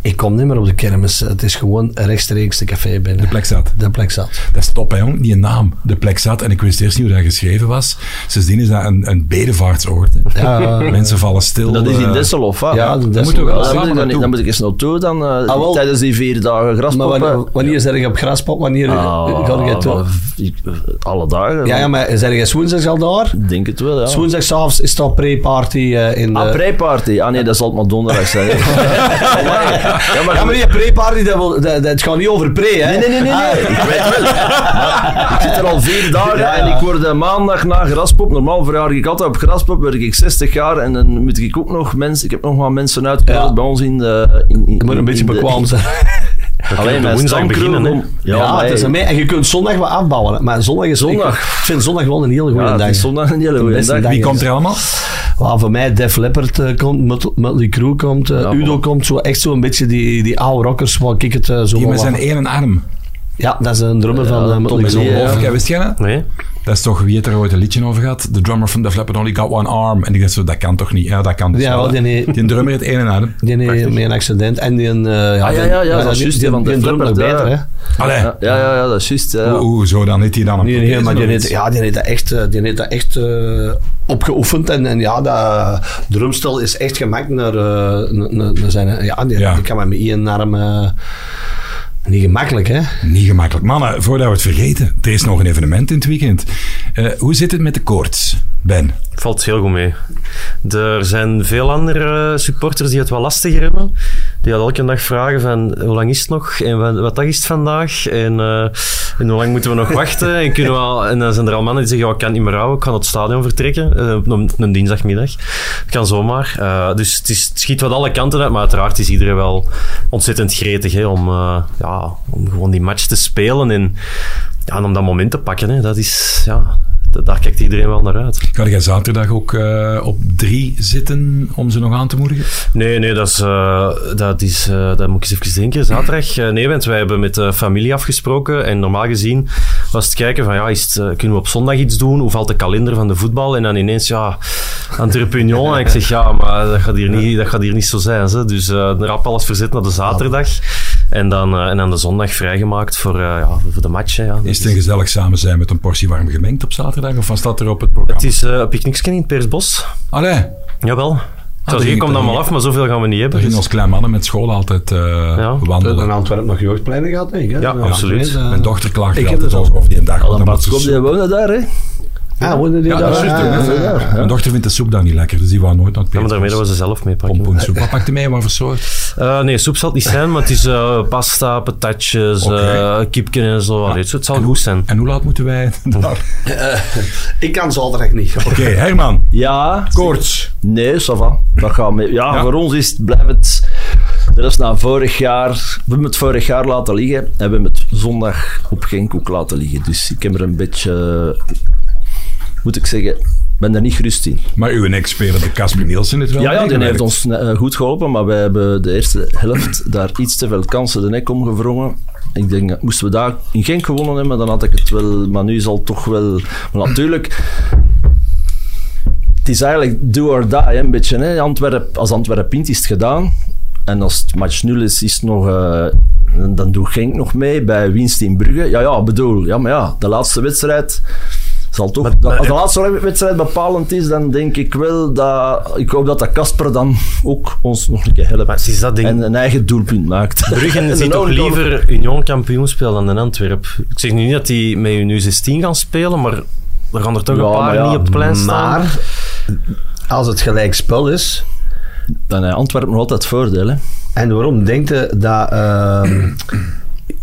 S2: Ik kom niet meer op de kermis. Het is gewoon rechtstreeks de café binnen.
S1: De plek zat.
S2: De plek zat.
S1: Dat is top, hè, jong. Die naam, de plek zat. En ik wist eerst niet hoe dat geschreven was. Sindsdien is dat een, een bedevaartsoord. hè.
S2: Ja.
S1: Mensen vallen stil.
S4: Dat is in
S1: eh,
S4: Desselof, hè?
S2: Ja, dat
S1: moeten we wel
S4: Dan moet,
S1: samen
S4: ik, dan,
S1: naartoe.
S4: dan moet ik eens naartoe dan, eh,
S2: Ah, wel.
S4: tijdens die vier dagen
S2: Maar
S4: graspoppen.
S2: wanneer, wanneer zeg je op graspop? Wanneer
S4: Ah,
S2: eh, ga je toe?
S4: maar ik- eh, alle dagen.
S2: Ja, ja, maar zeg je woensdags al daar?
S4: Ik denk het wel, ja.
S2: Woensdagavond is dat pre-party eh, in de...
S4: Ah, pre-party. Ah nee, dat zal het maar donderdag zijn. ja, maar,
S2: ja, maar die pre-party, dat, wil- dat, dat- het gaat niet over pre, hè? Ah,
S4: Nee, nee, nee, nee. nee. Ah, Ik weet wel. Maar ik zit er al vier dagen
S2: Ja, ja.
S4: en ik word eh, maandag na Graspop. Normaal verjaar ik altijd op Graspop, werk ik 60 jaar en dan moet ik ook nog mensen... Ik heb nog maar mensen uitgenodigd
S2: Ja.
S4: bij ons in de... In, in,
S2: Je moet een
S4: in
S2: beetje
S4: de-
S2: bekwaam zijn.
S4: Alleen
S3: op
S4: mijn
S3: woensdag
S4: stamcrew
S3: beginnen, hè.
S4: om-
S2: Ja,
S4: Ja, maar
S2: het is
S4: hey,
S2: een me- En je kunt zondag wat afbouwen. hè. Maar zondag is...
S4: Zondag.
S2: Ik vind zondag wel een hele goede
S4: ja, het
S2: dag.
S4: is zondag een hele goede
S2: beste
S4: dag.
S2: dag.
S1: Wie komt er allemaal?
S2: Waar voor mij Def Leppard eh, komt, Mut- Mötley Crew komt, eh,
S4: Ja,
S2: Udo
S4: voilà.
S2: komt. Zo, echt zo'n beetje die, die oude rockers waar ik het eh, zo
S1: Die
S2: wel
S1: met zijn
S2: wat-
S1: één arm.
S2: Ja, dat is een drummer van eh, Mötley
S1: Dat is
S2: Crew.
S4: Ja.
S1: ongelooflijk, hè. wist jij dat?
S3: Nee?
S1: Dat is toch wie het er ooit een liedje over had? De drummer van The Leppard Only Got One Arm. En ik dacht zo, dat kan toch niet? Ja, dat kan dus
S2: Ja,
S1: wel,
S2: wel,
S1: hè.
S2: die-
S1: Die drummer het ene arm.
S2: Die heeft met een accident en die... een, eh, ja,
S4: ja,
S2: die-
S4: ja, dat is
S2: die-
S4: juist,
S2: Die,
S4: die van
S2: die
S4: Def
S2: drumt nog
S4: Leppard,
S2: beter,
S4: ja.
S2: hè.
S1: Allee.
S4: Ja, ja, ja, ja, dat is juist. Ja.
S1: Oeh, oeh, zo, dan heeft hij dan een
S2: Nee, nee,
S1: prothese
S2: maar die
S1: of
S2: heeft,
S1: iets.
S2: ja, die heeft dat echt, eh, die heeft dat echt eh, opgeoefend. En, en ja, dat eh, drumstel is echt gemaakt naar, eh, naar, naar- naar zijn... Ja, die,
S1: Ja.
S2: die kan maar met één arm... eh, niet gemakkelijk, hè?
S1: Niet gemakkelijk. Mannen, voordat we het vergeten, er is nog een evenement in het weekend. Eh, hoe zit het met de koorts, Ben?
S3: Valt heel goed mee. Er zijn veel andere supporters die het wel lastiger hebben. Die hadden elke dag vragen van hoe lang is het nog en wa- wat dag is het vandaag en, eh, en hoe lang moeten we nog wachten. En, kunnen we al, en dan zijn er al mannen die zeggen, "Ja, ik kan niet meer houden, ik ga naar het stadion vertrekken eh, op een, een dinsdagmiddag. Dat kan zomaar. Eh, dus het, is, het schiet wat alle kanten uit, maar uiteraard is iedereen wel ontzettend gretig hè, om, eh, ja, om gewoon die match te spelen en, ja, en om dat moment te pakken. Hè. Dat is, ja, da- daar kijkt iedereen wel naar uit.
S1: Ga jij zaterdag ook eh, op drie zitten om ze nog aan te moedigen?
S3: Nee, nee, dat is... eh, dat is eh, dat moet ik eens even denken. Zaterdag, eh, nee, want wij hebben met de familie afgesproken. En normaal gezien was het kijken van, ja, is het, eh, kunnen we op zondag iets doen? Hoe valt de kalender van de voetbal? En dan ineens, ja, Antwerpen Union. En ik zeg, ja, maar dat gaat hier niet, dat gaat hier niet zo zijn. Ze. Dus eh rap alles verzet naar de zaterdag. En dan, eh, en dan de zondag vrijgemaakt voor, eh, ja, voor de match. Hè, ja. Dus
S1: Is het een gezellig samen zijn met een portie warm gemengd op zaterdag? Of was dat er op het programma?
S3: Het is eh, een picknickscan in het Peersbos.
S1: Allee,
S3: Jawel.
S1: dat
S3: Zoals hier
S1: ging-
S3: komt
S1: dat
S3: allemaal
S1: ging-
S3: af, maar zoveel gaan we niet
S1: we
S3: hebben.
S1: gingen
S3: dus-
S1: als klein mannen met school altijd eh,
S2: In
S1: wandelen.
S2: Antwerpen nog jeugdpleinen gehad, denk ik. hè?
S3: Ja, absoluut.
S2: eh,
S1: Mijn dochter klaagt
S2: Ik
S1: er
S2: heb
S1: altijd
S2: het
S1: over, over die dag. want dan moet ze
S4: Kom,
S1: soep-
S4: die wonen daar, hè?
S2: Ah, wonen die
S1: Ja,
S2: daar?
S1: dat is juist,
S2: Ah,
S1: hè.
S2: ah, ah.
S1: Mijn dochter vindt de soep dan niet lekker, dus die wou nooit naar het
S3: Ja, maar daarmee dat we ze zelf meepakken.
S1: Pompoensoep. Wat pakte mee? Wat voor soort?
S3: Eh, nee, soep zal het niet zijn, maar het is eh, pasta, patatjes,
S1: Oké.
S3: eh kipken en zo. Allee, het zal
S1: En-
S3: goed zijn.
S1: En hoe laat moeten wij daar?
S2: Ik kan zaterdag niet.
S1: Oké, Herman.
S4: Ja.
S1: Koorts.
S4: Nee, ça va. Dat gaat mee. Ja,
S1: Ja.
S4: voor ons is het, blijft het... Dat is na vorig jaar... We hebben het vorig jaar laten liggen. En we hebben het zondag op geen koek laten liggen. Dus ik heb er een beetje... eh, Moet ik zeggen... Ik ben er niet gerust in.
S1: Maar uw ex-speler, de Casper Nielsen, het wel
S4: Ja, ja die
S1: meegewerkt.
S4: heeft ons eh, goed geholpen, maar wij hebben de eerste helft daar iets te veel kansen de nek om gewrongen. Ik denk, eh, moesten we daar in Genk gewonnen hebben, dan had ik het wel... Maar nu zal het toch wel... Maar natuurlijk... Het is eigenlijk do or die, hè, een beetje. Hè. Antwerp, als Antwerp pint is het gedaan. En als het match 0 is, is het nog... eh, dan doet Genk nog mee bij winst in Brugge. Ja, ja, bedoel. Ja, maar ja, de laatste wedstrijd... Zal toch, als de laatste wedstrijd bepalend is, dan denk ik wel dat... Ik hoop dat dat Kasper dan ook ons nog een keer
S3: Maar
S4: helpt.
S3: het is dat ding.
S4: En een eigen doelpunt maakt.
S2: eh,
S3: Bruggen
S4: En
S3: ziet
S4: een
S3: toch
S4: own goal.
S3: liever Union kampioen spelen dan in Antwerp. Ik zeg nu niet dat die met hun U16 gaan spelen, maar er gaan er toch
S4: Ja,
S3: een paar
S4: maar ja,
S3: niet op het plein staan.
S2: Maar, als het gelijk spel is...
S4: Dan heeft Antwerpen nog altijd voordeel, hè.
S2: En waarom denkt je dat ehm,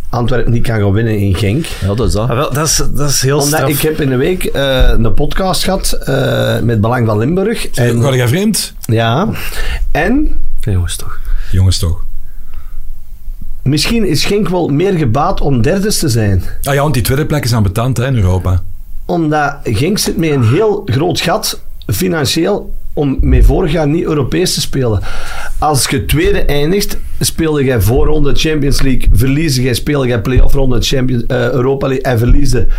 S2: Antwerpen niet kan gaan winnen in Genk?
S4: Ja, dat is dat.
S3: Ah, wel, dat, is, dat is heel
S2: Omdat
S3: straf.
S2: ik heb in de week eh, een podcast gehad eh, met Belang van Limburg. En,
S1: Ga Eh, jij vreemd?
S2: ja, en
S3: Nee, jongens, toch.
S1: Jongens toch.
S2: misschien is Genk wel meer gebaat om derde te zijn.
S1: Ah ja, want die tweede plek is aan betand hè, in Europa.
S2: Omdat Genk zit met een heel groot gat financieel om met vorig jaar niet Europees te spelen. Als je tweede eindigt, speelde jij voorronde Champions League, verliezen jij, speel jij play-off ronde Champions, eh, Europa League en verliezen.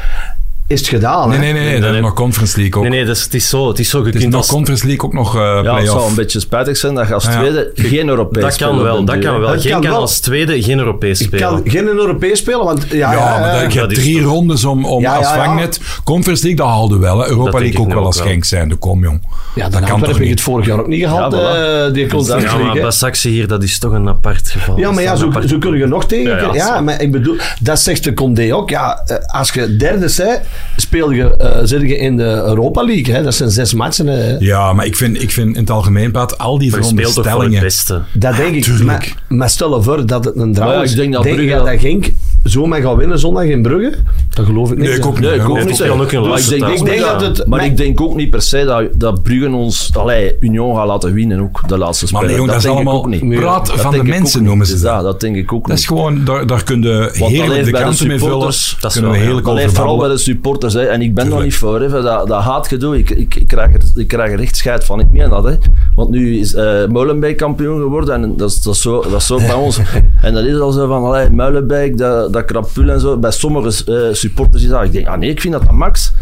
S2: is het gedaan.
S1: Nee,
S2: hè?
S1: nee, nee, nee,
S3: Nee,
S1: dan
S3: nee.
S1: nog Conference League ook.
S3: Nee, nee, dat is, het is zo. Het is zo. Je
S1: Het is
S3: kunt
S1: nog
S3: als-
S1: Conference League ook nog eh
S4: Ja, het zou
S1: play-off.
S4: een beetje spijtig zijn dat je als
S1: Ah, ja.
S4: tweede geen Europees
S3: dat kan
S4: speelt op
S3: wel,
S4: den
S3: dat
S4: duur,
S3: kan
S4: hè.
S3: wel.
S2: Dat
S3: Geen
S2: kan
S3: kan,
S2: wel.
S3: als tweede geen Europees
S2: Ik
S3: spelen.
S2: kan geen Europees spelen, want ja,
S1: Ja, maar
S2: eh,
S1: dat, je
S3: dat
S1: hebt
S3: is
S1: drie
S3: toch-
S1: rondes om, om
S2: Ja,
S1: als
S2: ja, ja.
S1: vangnet. Conference League, dat haalde wel. Hè. Europa
S3: denk
S1: League
S3: ik
S1: ook wel
S3: ook
S1: als
S3: wel.
S1: Genk zijn. De kom, jong.
S2: ja,
S1: dat
S2: Nou, dat
S1: kan
S2: kan
S1: toch
S2: heb ik het
S1: niet?
S2: vorig jaar ook niet gehad,
S4: Ja, voilà.
S2: eh, die Conference
S3: Ja, maar
S2: League, hè.
S3: Basak hier, dat is toch een apart geval.
S2: Ja, maar ja,
S3: Dat is
S2: zo,
S3: een apart-
S2: zo kun je nog tegen.
S3: Ja, ja,
S2: Ja,
S3: zo.
S2: maar ik bedoel, dat zegt de Condé ook. Ja, eh, als je derde bent, speel je, eh, zit je in de Europa League. Hè. Dat zijn zes matchen. hè.
S1: Ja, maar ik vind, ik vind in het algemeen, Pat, al die
S3: Maar je speelt toch voor het
S1: veronderstellingen.
S3: beste.
S2: Dat denk ik.
S1: tuurlijk.
S2: Maar, maar stel je voor dat het een drama
S4: Maar ja,
S2: is.
S4: ik denk dat Brugge
S2: je
S4: dat-
S2: dat Genk zomaar gaat winnen zondag in Brugge? Dat geloof ik niet.
S1: Nee, ik ook niet.
S4: Nee, ik
S1: hoor.
S4: ook
S3: Nee,
S4: niet.
S3: het kan ook een
S4: Maar ik
S3: laatste
S4: denk,
S3: thuis
S4: Dus ik denk
S2: zijn.
S4: dat het, maar
S2: Maar-
S4: ik denk ook niet per se dat, dat Bruggen ons, allee, Union gaat laten winnen ook de laatste
S1: Maar
S4: speler.
S1: nee, jong, dat is
S4: denk ik
S1: allemaal
S4: ook niet.
S1: praat
S4: Dat
S1: van
S4: denk
S1: de
S4: ik ook
S1: mensen,
S4: niet.
S1: noemen ze
S4: Dus
S1: dat.
S4: dat. Dat denk ik ook
S1: Dat is
S4: niet.
S1: gewoon, daar, daar kun je
S4: Want
S1: heerlijk
S4: alleen
S1: de
S4: bij
S1: kansen mee vullen.
S4: supporters-
S3: dat is
S1: kunnen we
S3: wel, ja.
S1: heerlijk
S4: Allee,
S1: over
S4: vooral bij
S1: babbelen.
S4: de supporters. Hè. En ik ben daar
S1: Tuurlijk.
S4: niet voor. Hè. Dat, dat haatgedoe. Ik, ik, ik, krijg er, ik krijg er echt scheid van. Ik meen dat. Hè. Want nu is eh Molenbeek kampioen geworden. En dat is, dat is, zo, dat is zo bij ons. En dat is al zo van, allee, Molenbeek, dat, dat krapul en zo. Bij sommige eh, supporters is dat. Ik denk, ah nee, ik vind dat dat max.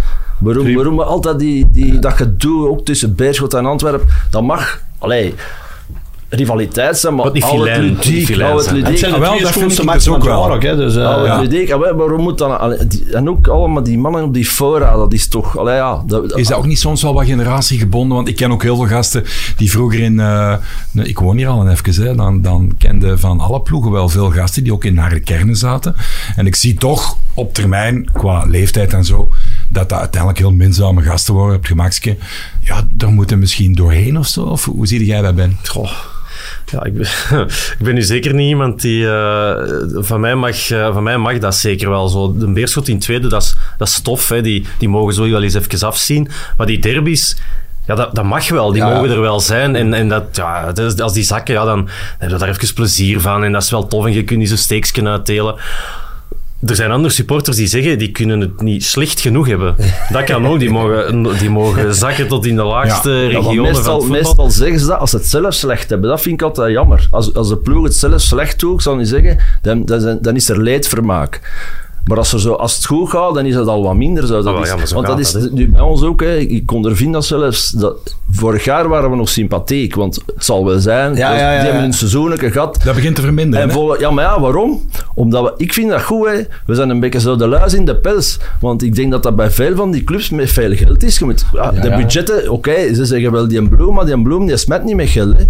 S4: Waarom, waarom we altijd die, die, dat gedoe, ook tussen Beerschot en Antwerpen, dat mag. Allee, rivaliteit zijn, maar
S3: Wat niet
S4: al het
S3: filijn- niet
S4: ludiek,
S3: filijn
S4: al het
S3: zijn, hè.
S2: Het
S4: ludiek.
S2: zijn de
S1: Ah, wel,
S2: twee
S1: dat vind
S2: schoonste
S1: ik
S2: matchen
S1: dus
S2: van
S1: ook
S2: het
S1: wel.
S2: jaar ook, hè, dus, eh,
S3: Oh,
S4: Ja,
S1: ja.
S4: ja. Ludiek, Ah, maar waarom moet dan... allee, die- En ook allemaal die mannen op die fora, dat is toch... Allee, ja, dat,
S1: Is dat ook niet soms wel wat generatiegebonden? Want ik ken ook heel veel gasten die vroeger in... eh, nee, ik woon hier al een even, hè, dan, dan kende van alle ploegen wel veel gasten die ook in harde kernen zaten. En ik zie toch op termijn, qua leeftijd en zo, dat dat uiteindelijk heel minzame gasten worden op het gemakske. Ja, daar moeten misschien doorheen of zo. Of hoe zie jij dat, Ben?
S3: Goh. Ja, ik ben, ik ben nu zeker niet iemand die... eh, van, mij mag, eh, van mij mag dat zeker wel zo. De Beerschot in tweede, dat is, dat is tof. Hè. Die, die mogen zo wel eens even afzien. Maar die derbies... Ja, dat, dat mag wel. Die
S2: Ja.
S3: mogen er wel zijn. En, en dat, ja, dat is- als die zakken, ja, dan heb je daar even plezier van. En dat is wel tof. En je kunt die zo'n steeksken uitdelen. Er zijn andere supporters die zeggen, die kunnen het niet slecht genoeg hebben. Dat kan ook. Die mogen, die mogen zakken tot in de laagste
S4: Ja, want
S3: regionen van
S4: meestal,
S3: het voetbal.
S4: meestal zeggen ze dat als ze het zelf slecht hebben. Dat vind ik altijd jammer. Als, als de ploeg het zelf slecht doet, ik zal niet zeggen, dan, dan, zijn- dan is er leedvermaak. Maar als, er zo, als het goed gaat, dan is dat al wat minder. Zo. Dat
S3: Ah, wel,
S4: is,
S3: ja, maar zo
S4: want dat
S3: gaat
S4: is
S3: dat, hè.
S4: nu bij ons ook. Hè, ik ondervind dat zelfs. Dat, vorig jaar waren we nog sympathiek, want het zal wel zijn.
S2: Ja, ja,
S4: dat-
S2: ja,
S4: die hebben
S2: ja.
S4: hun seizoenlijke gehad.
S1: Dat begint te verminderen.
S4: En
S1: hè?
S4: vol- ja, maar ja, waarom? Omdat we, ik vind dat goed, hè. We zijn een beetje zo de luis in de pels. Want ik denk dat dat bij veel van die clubs met veel geld is. Je moet, ja, de
S2: ja.
S4: budgetten, oké, ze zeggen wel die bloem, maar die bloem die smet niet met geld. Hè.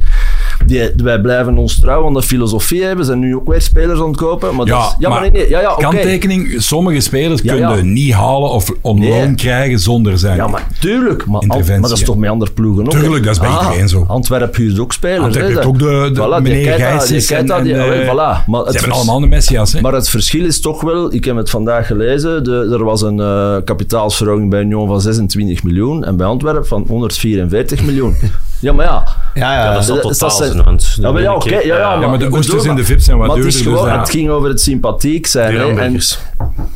S4: Die, wij blijven ons trouw aan de filosofie hebben. We zijn nu ook weer spelers aan het kopen. Maar dat is- ja, maar, nee, nee, ja, ja, oké.
S1: kanttekening, sommige spelers
S4: Ja,
S1: kunnen
S4: ja.
S1: niet halen of on
S4: Nee.
S1: loan krijgen zonder zijn.
S4: Ja, maar tuurlijk. Maar, al-
S1: Interventie,
S4: maar dat is
S1: ja.
S4: toch met andere ploegen ook? hè?
S1: Tuurlijk, dat is bij iedereen zo.
S4: Antwerpen huurt ook spelers.
S1: Antwerpen
S4: hè.
S1: heeft ook de- de
S4: die
S1: meneer
S4: Keita, die
S1: Gijsens
S4: Keita,
S1: en-
S4: die-
S1: en,
S4: allee,
S1: eh,
S4: voilà. Maar
S1: Ze
S4: het
S1: hebben
S4: vers-
S1: allemaal de messias, hè?
S4: Maar het verschil is toch wel, ik heb het vandaag gelezen, de, er was een eh kapitaalsverhoging bij Union van 26 miljoen en bij Antwerpen van 144 miljoen. Ja, maar ja.
S2: Ja, ja.
S3: Ja, dat is
S4: dat-
S3: totaal
S4: dat zijn-
S3: zijn, want-
S4: Ja, maar ja, oké. ja, ja,
S1: maar de
S4: ik
S1: oesters
S4: bedoel,
S1: in de
S4: maar-
S1: VIP zijn wat
S4: maar het
S1: duurder,
S4: is
S1: dus
S4: Gewoon,
S1: ja.
S4: Het ging over het sympathiek zijn. hè. En
S3: Durenbergers.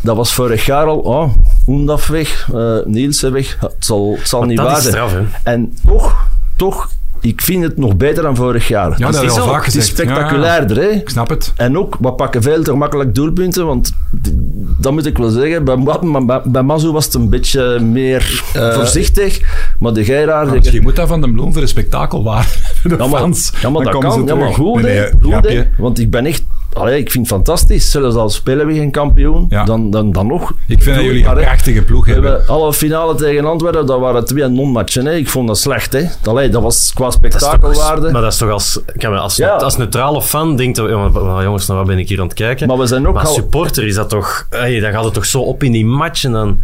S4: dat was vorig jaar al, oh, Oendaf weg, eh Nielsen weg. Het zal, het zal niet
S3: dat
S4: waar
S3: is
S4: zijn.
S3: straf, hè.
S4: En toch, toch, ik vind het nog beter dan vorig
S1: Ja,
S4: jaar.
S1: dat
S3: is
S1: hebben we al
S3: zo.
S1: vaak
S4: het is
S1: gezegd. Ja, ja.
S4: spectaculairder, hè?
S1: Ik snap het.
S4: En ook, we pakken veel te makkelijk doelpunten, want d- dat moet ik wel zeggen. Bij, Ma- bij, bij Mazou was het een beetje meer eh, voorzichtig, maar de Geiraar... die-
S1: Misschien dus moet dat van de bloem voor een spektakel waar. Voor de
S4: ja, maar,
S1: fans.
S4: ja, maar
S1: Dan
S4: dat
S1: komen ze
S4: kan. Ja, maar
S1: terug.
S4: goed,
S1: Nee,
S4: hè.
S1: nee,
S4: Goed, hè.
S1: grapje.
S4: Want ik ben echt... Allee, ik vind het fantastisch. Zelfs al spelen we geen kampioen,
S1: Ja.
S4: dan, dan, dan nog.
S1: Ik vind dat
S4: Doe
S1: jullie een
S4: maar, hè.
S1: prachtige ploeg
S4: We
S1: hebben.
S4: hebben alle finale tegen Antwerpen, dat waren twee non-matchen. hè. Ik vond dat slecht. Hè. Allee, dat was qua spektakelwaarde.
S3: Maar dat is toch als, kan men als,
S4: Ja.
S3: als neutrale fan denkt, dat- ja, maar- maar jongens, naar wat ben ik hier aan het kijken?
S4: Maar we zijn ook
S3: Maar als
S4: al-
S3: supporter is dat toch, hey, dan gaat het toch zo op in die matchen dan.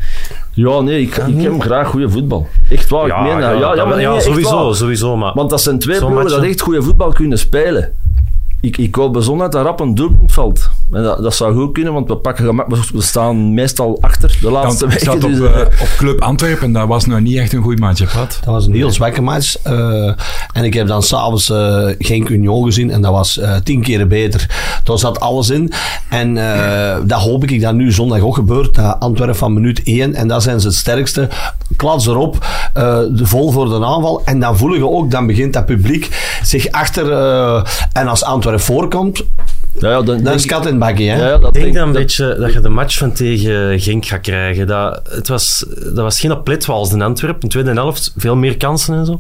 S4: Ja, nee, ik, ik heb graag goede voetbal. Echt waar, Oh, ik meen dat. Ja, ja,
S3: dat-
S4: maar nee,
S3: ja,
S4: echt
S3: sowieso,
S4: waar.
S3: sowieso, maar
S4: Want dat zijn twee
S3: Zo'n
S4: ploegen
S3: matchen.
S4: dat echt goede voetbal kunnen spelen. Ik, ik hoop bijzonder dat er rap een doelpunt valt. En dat, dat zou goed kunnen, want we, pakken, gemak- we, we staan meestal achter de
S1: Want
S4: laatste
S1: ik
S4: weken.
S1: zat op,
S4: dus,
S1: eh,
S4: eh,
S1: op Club Antwerpen, dat was nou niet echt een goed maatje, Pat.
S2: Dat was een heel zwakke match. eh, en ik heb dan s'avonds eh geen Union gezien. En dat was eh, tien keer beter. Daar zat alles in. En eh, dat hoop ik dat nu zondag ook gebeurt. Dat Antwerpen van minuut één. En daar zijn ze het sterkste. Klats erop. eh, de vol voor de aanval. En dan voelen je ook, dan begint dat publiek zich achter. eh, en als Antwerpen voorkomt,
S4: Ja, ja, dan,
S2: Dat
S4: denk
S2: is
S4: ik-
S2: kat en bakkie, hè?
S4: ja, ja, dat
S3: Ik denk
S4: denk
S3: dan een
S4: dat-
S3: beetje dat je de match van tegen Genk gaat krijgen. Dat, het was, dat was geen opletwa als in Antwerpen. In de tweede helft veel meer kansen en zo.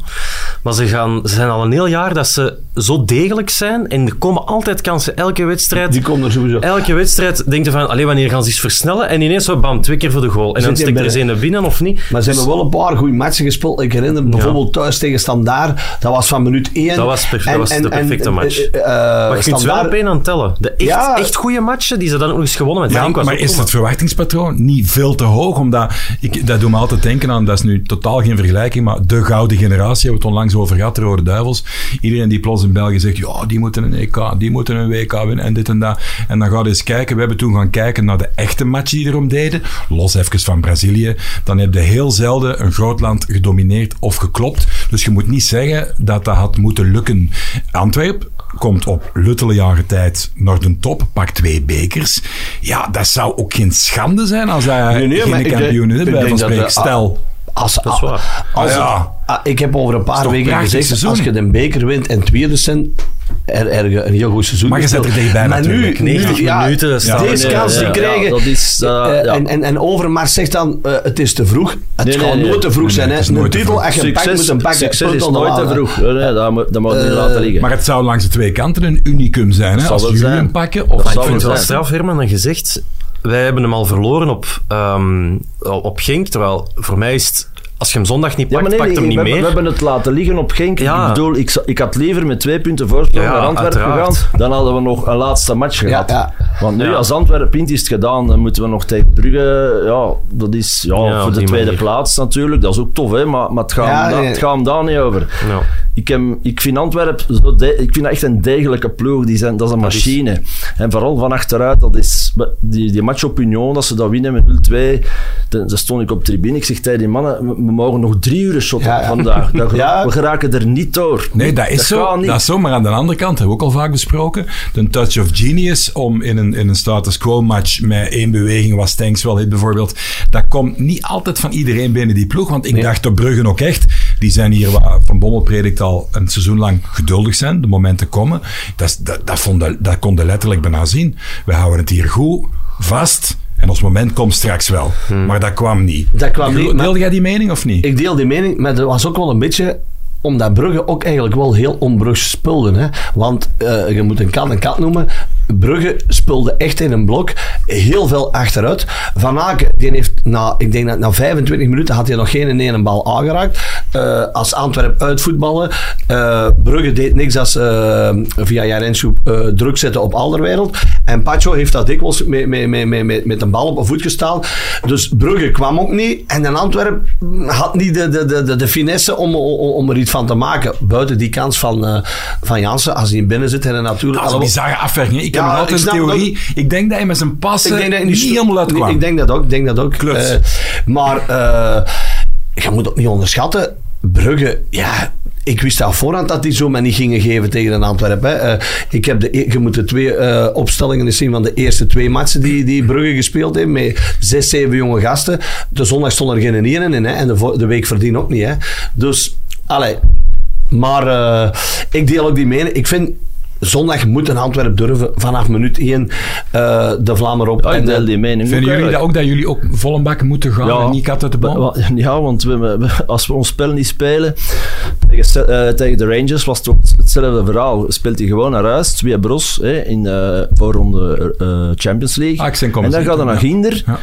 S3: Maar ze, gaan, ze zijn al een heel jaar dat ze zo degelijk zijn. En er komen altijd kansen. Elke wedstrijd.
S2: Die komt er sowieso.
S3: Elke wedstrijd denkt je van, allee, wanneer gaan ze iets versnellen? En ineens zo, bam, twee keer voor de goal.
S2: Zit
S3: En dan
S2: je
S3: stikt er
S2: binnen.
S3: eens een binnen of niet. Dus
S2: Maar ze hebben wel een paar goede matchen gespeeld. Ik herinner me bijvoorbeeld thuis tegen Standaar. Dat was van minuut 1.
S3: Dat was perf- dat was de perfecte match.
S2: eh,
S3: Maar je kunt ze wel op één aan tellen. De echt,
S2: Ja.
S3: echt goede matchen die ze dan ook nog eens gewonnen hebben.
S1: Ja,
S3: Genk was
S1: maar
S3: ook
S1: is
S3: goed,
S1: het verwachtingspatroon niet veel te hoog? Omdat, ik, dat doet me altijd denken aan, dat is nu totaal geen vergelijking, maar de gouden generatie, hebben we het onlangs over gehad, de Rode Duivels. Iedereen die plots in België zegt, ja, die moeten een EK, die moeten een WK winnen en dit en dat. En dan gaat eens kijken, we hebben toen gaan kijken naar de echte matchen die erom deden, los even van Brazilië. Dan heb je heel zelden een groot land gedomineerd of geklopt. Dus je moet niet zeggen dat dat had moeten lukken. Antwerp komt op luttele jaren tijd naar de top, pakt twee bekers. Ja, dat zou ook geen schande zijn als hij
S2: Nee, nee, maar
S1: geen
S2: ik
S1: kampioen
S2: denk-
S1: is,
S2: ik
S1: bij van
S2: denk dat
S1: spreken.
S2: de- ah,
S1: Stel.
S2: Als,
S3: Dat is waar.
S2: als-
S1: Ah, ja.
S2: ah, ik heb over een paar
S1: toch
S2: weken
S1: prachtig
S2: gezegd,
S1: seizoen?
S2: als je de beker wint en tweede cent, er, er, een heel goed seizoen.
S1: Maar je zit er
S2: gespeeld.
S1: dichtbij
S2: maar
S1: natuurlijk.
S2: Nu, nu,
S3: 90
S2: ja,
S3: minuten staan
S2: Deze
S3: we,
S2: kans
S3: eh,
S2: die
S3: ja,
S2: krijgen.
S4: dat is, eh,
S2: eh,
S4: ja.
S2: en, en, en Overmars zegt dan, eh, het is te vroeg. Het
S4: Nee, nee,
S2: kan
S4: nee.
S2: nooit te vroeg
S1: Nee,
S2: zijn.
S1: nee,
S2: hè.
S1: het is nooit
S2: Een
S1: te
S2: titel,
S1: vroeg.
S2: als je een pak moet een pakken.
S4: succes
S2: punt Eh,
S4: is
S2: aan de
S4: nooit
S2: laal,
S4: te
S2: hè.
S4: vroeg. Nee, nee, dat moet, dat moet niet laten liggen.
S1: Maar het zou langs de twee kanten een unicum zijn. Hè?
S4: Zal
S1: Als
S4: wel
S1: jullie
S4: zijn.
S1: hem pakken, of
S4: Dat
S1: ik vind
S3: Ik
S4: zal wel
S1: het
S3: vind het
S1: wel
S3: wel straf, Herman, en gezegd, wij hebben hem al verloren op, ehm, op Genk. Terwijl voor mij is het, als je hem zondag niet pakt, pakt hem
S4: we,
S3: niet
S4: hebben-
S3: meer.
S4: we hebben het laten liggen op Genk.
S3: Ja.
S4: Ik bedoel, ik, zou- ik had liever met twee punten voorsprong
S3: Ja,
S4: naar Antwerpen
S3: uiteraard.
S4: gegaan. Dan hadden we nog een laatste match gehad.
S2: ja.
S4: Want nu,
S3: Ja.
S4: als Antwerpen pint is het gedaan, dan moeten we nog tegen Brugge. Ja, dat is ja,
S3: Ja, op
S4: voor de
S3: die
S4: tweede
S3: manier.
S4: plaats natuurlijk. Dat is ook tof, hè, maar, maar het gaat
S2: Ja,
S4: hem daar-
S2: nee.
S4: het gaat hem daar niet over.
S3: Ja.
S4: Ik, heb, ik vind Antwerpen zo de- ik vind dat echt een degelijke ploeg. Die zijn, dat is een
S3: Dat is-
S4: machine. En vooral van achteruit, dat is, die, die match op Union, dat ze dat winnen met 0-2. Dan dan stond ik op tribune. Ik zeg tegen die mannen, we, we mogen nog drie uur shotten
S2: Ja, ja.
S4: vandaag. Dat-
S2: Ja.
S4: We geraken er niet door.
S1: Nee, dat is,
S4: gaat
S1: zo,
S4: niet.
S1: dat is zo. Maar aan de andere kant, hebben we ook al vaak besproken, de touch of genius om in een, in een status quo match met één beweging, was Tanks wel hit bijvoorbeeld, dat komt niet altijd van iedereen binnen die ploeg. Want ik dacht op Bruggen ook echt, die zijn hier waar Van Bommel predikt al een seizoen lang geduldig zijn, de momenten komen. Dat, is- dat, dat, vond de- dat kon je letterlijk bijna zien. We houden het hier goed, vast... En ons moment komt straks wel. Maar dat kwam niet.
S2: Hmm. Dat kwam
S1: Deel-
S2: niet, maar-
S1: Deelde jij die mening of niet?
S2: Ik deel die mening, maar dat was ook wel een beetje omdat Brugge ook eigenlijk wel heel onbrugge speelde. Hè? Want eh, je moet een kat een kat noemen. Brugge speelde echt in een blok. Heel veel achteruit. Van Aken, die heeft na, ik denk dat na 25 minuten had hij nog geen in ene bal aangeraakt. Eh, als Antwerp uitvoetballen. eh Brugge deed niks als eh, via Jarensjoep druk zetten op Alderwereld. En Pacho heeft dat dikwijls met, met, met, met, met, met een bal op een voet gestaan. Dus Brugge kwam ook niet. En dan Antwerp had niet de, de, de, de, de finesse om, om, om er iets van te maken. Buiten die kans van, eh, van Jansen, als hij binnen zit. En dan natuurlijk
S1: Dat is een
S2: allemaal-
S1: bizarre afweging. Ik
S2: Ja,
S1: heb nog
S2: ik
S1: altijd een
S2: snap
S1: theorie. Ik denk dat hij met zijn passen
S2: hij
S1: niet
S2: spe-
S1: helemaal uit
S2: Nee,
S1: kwam.
S2: Ik denk dat ook. Ik denk dat ook.
S1: Kluts.
S2: Eh, maar eh, je moet ook niet onderschatten. Brugge, ja. Ik wist al voorhand dat die zo maar niet gingen geven tegen een Antwerpen. Hè. Eh, ik heb de, e- je moet de twee eh, opstellingen eens zien van de eerste twee matchen die, die Brugge gespeeld heeft. Met zes, zeven jonge gasten. De zondag stond er geen ene in. Hè. En de, vo- de week verdien ook niet. Hè. Dus, allee. Maar eh, ik deel ook die mening. Ik vind, zondag moet een Antwerp durven vanaf minuut 1 de vlammer op.
S4: Ja, Oh, ik
S2: en de-
S4: deel die mening. ook
S1: Vinden jullie
S4: eigenlijk.
S1: dat ook dat jullie ook volle bak moeten gaan en niet kat uit de boom?
S4: Wa- wa- Ja, want we- we- als we ons spel niet spelen tegen, Se- eh, tegen de Rangers was het ook hetzelfde verhaal. Speelt hij gewoon naar huis, twee bros hè, in eh voorronde eh, Champions League.
S1: Ah, ik zijn komen
S4: en dan
S1: zitten,
S4: gaat hij naar
S1: ja.
S4: Ginder.
S1: Ja.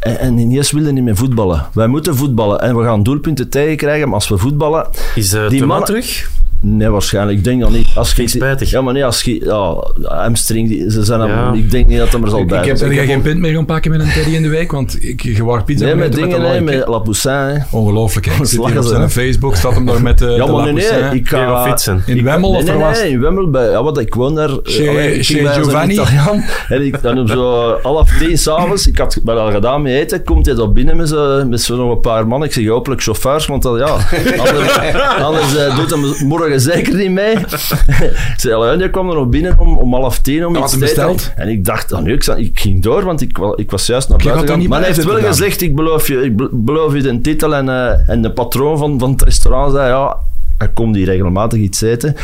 S4: En, en Iniesta wilde niet meer voetballen. Wij moeten voetballen en we gaan doelpunten tegenkrijgen. Maar als we voetballen,
S3: Is eh
S4: Die
S3: Thomas
S4: mannen-
S3: terug?
S4: Nee, waarschijnlijk. Ik denk dat niet. Als je,
S3: spijtig.
S4: Ja, maar nee, als je... Ja, hamstring, die- ze zijn
S3: Ja.
S4: hem- Ik denk niet dat hem er zal
S2: Ik- ik
S4: bij
S2: heb-
S1: Zijn
S4: zijn.
S1: jij geen pint meer gaan pakken met een teddy in de week? Want ik gewaar pizza
S4: Nee, met
S1: met,
S4: dingen,
S1: een
S4: nee,
S1: lolly.
S4: met Lapoussin. hè.
S1: Ongelooflijk, hè? Ik zit hier
S4: Slagen
S1: op
S4: ze,
S1: zijn
S4: hè?
S1: Facebook, staat hem daar met de,
S4: Ja,
S1: de
S4: maar nee,
S1: lapjes, hè.
S4: nee. Ik
S3: Kun je wel
S4: ga...
S3: fietsen?
S1: In Wemmel
S4: Nee,
S1: of
S4: nee,
S1: waar was het?
S4: nee, in Wemmel bij... Ja, want ik woon daar...
S1: Chez-
S4: Allee, ik
S1: chez
S4: ging bij zo'n
S1: Giovanni?
S4: Italiaan. En ik dan om zo half tien s'avonds, ik had wel al gedaan met eten, komt hij dan binnen met zo'n met zo nog een paar mannen. Ik zeg, hopelijk chauffeurs, want dat, ja, anders, anders eh, doet hem morgen zeker niet mee. ik zei, allee, en die kwam er nog binnen om, om half tien om
S1: Wat
S4: iets
S1: had
S4: te
S1: hem
S4: eten.
S1: besteld?
S4: En ik dacht, ah, nee, ik, zou- ik ging door, want ik, wa- ik was juist naar
S1: Je
S4: buiten
S1: had dat
S4: gegaan.
S1: niet
S4: Maar hij heeft
S1: blijven
S4: wel
S1: gedaan.
S4: gezegd, ik beloof je, ik be- beloof je de titel en, eh, en de patroon van, van het restaurant zei, ja, hij komt hier regelmatig iets eten.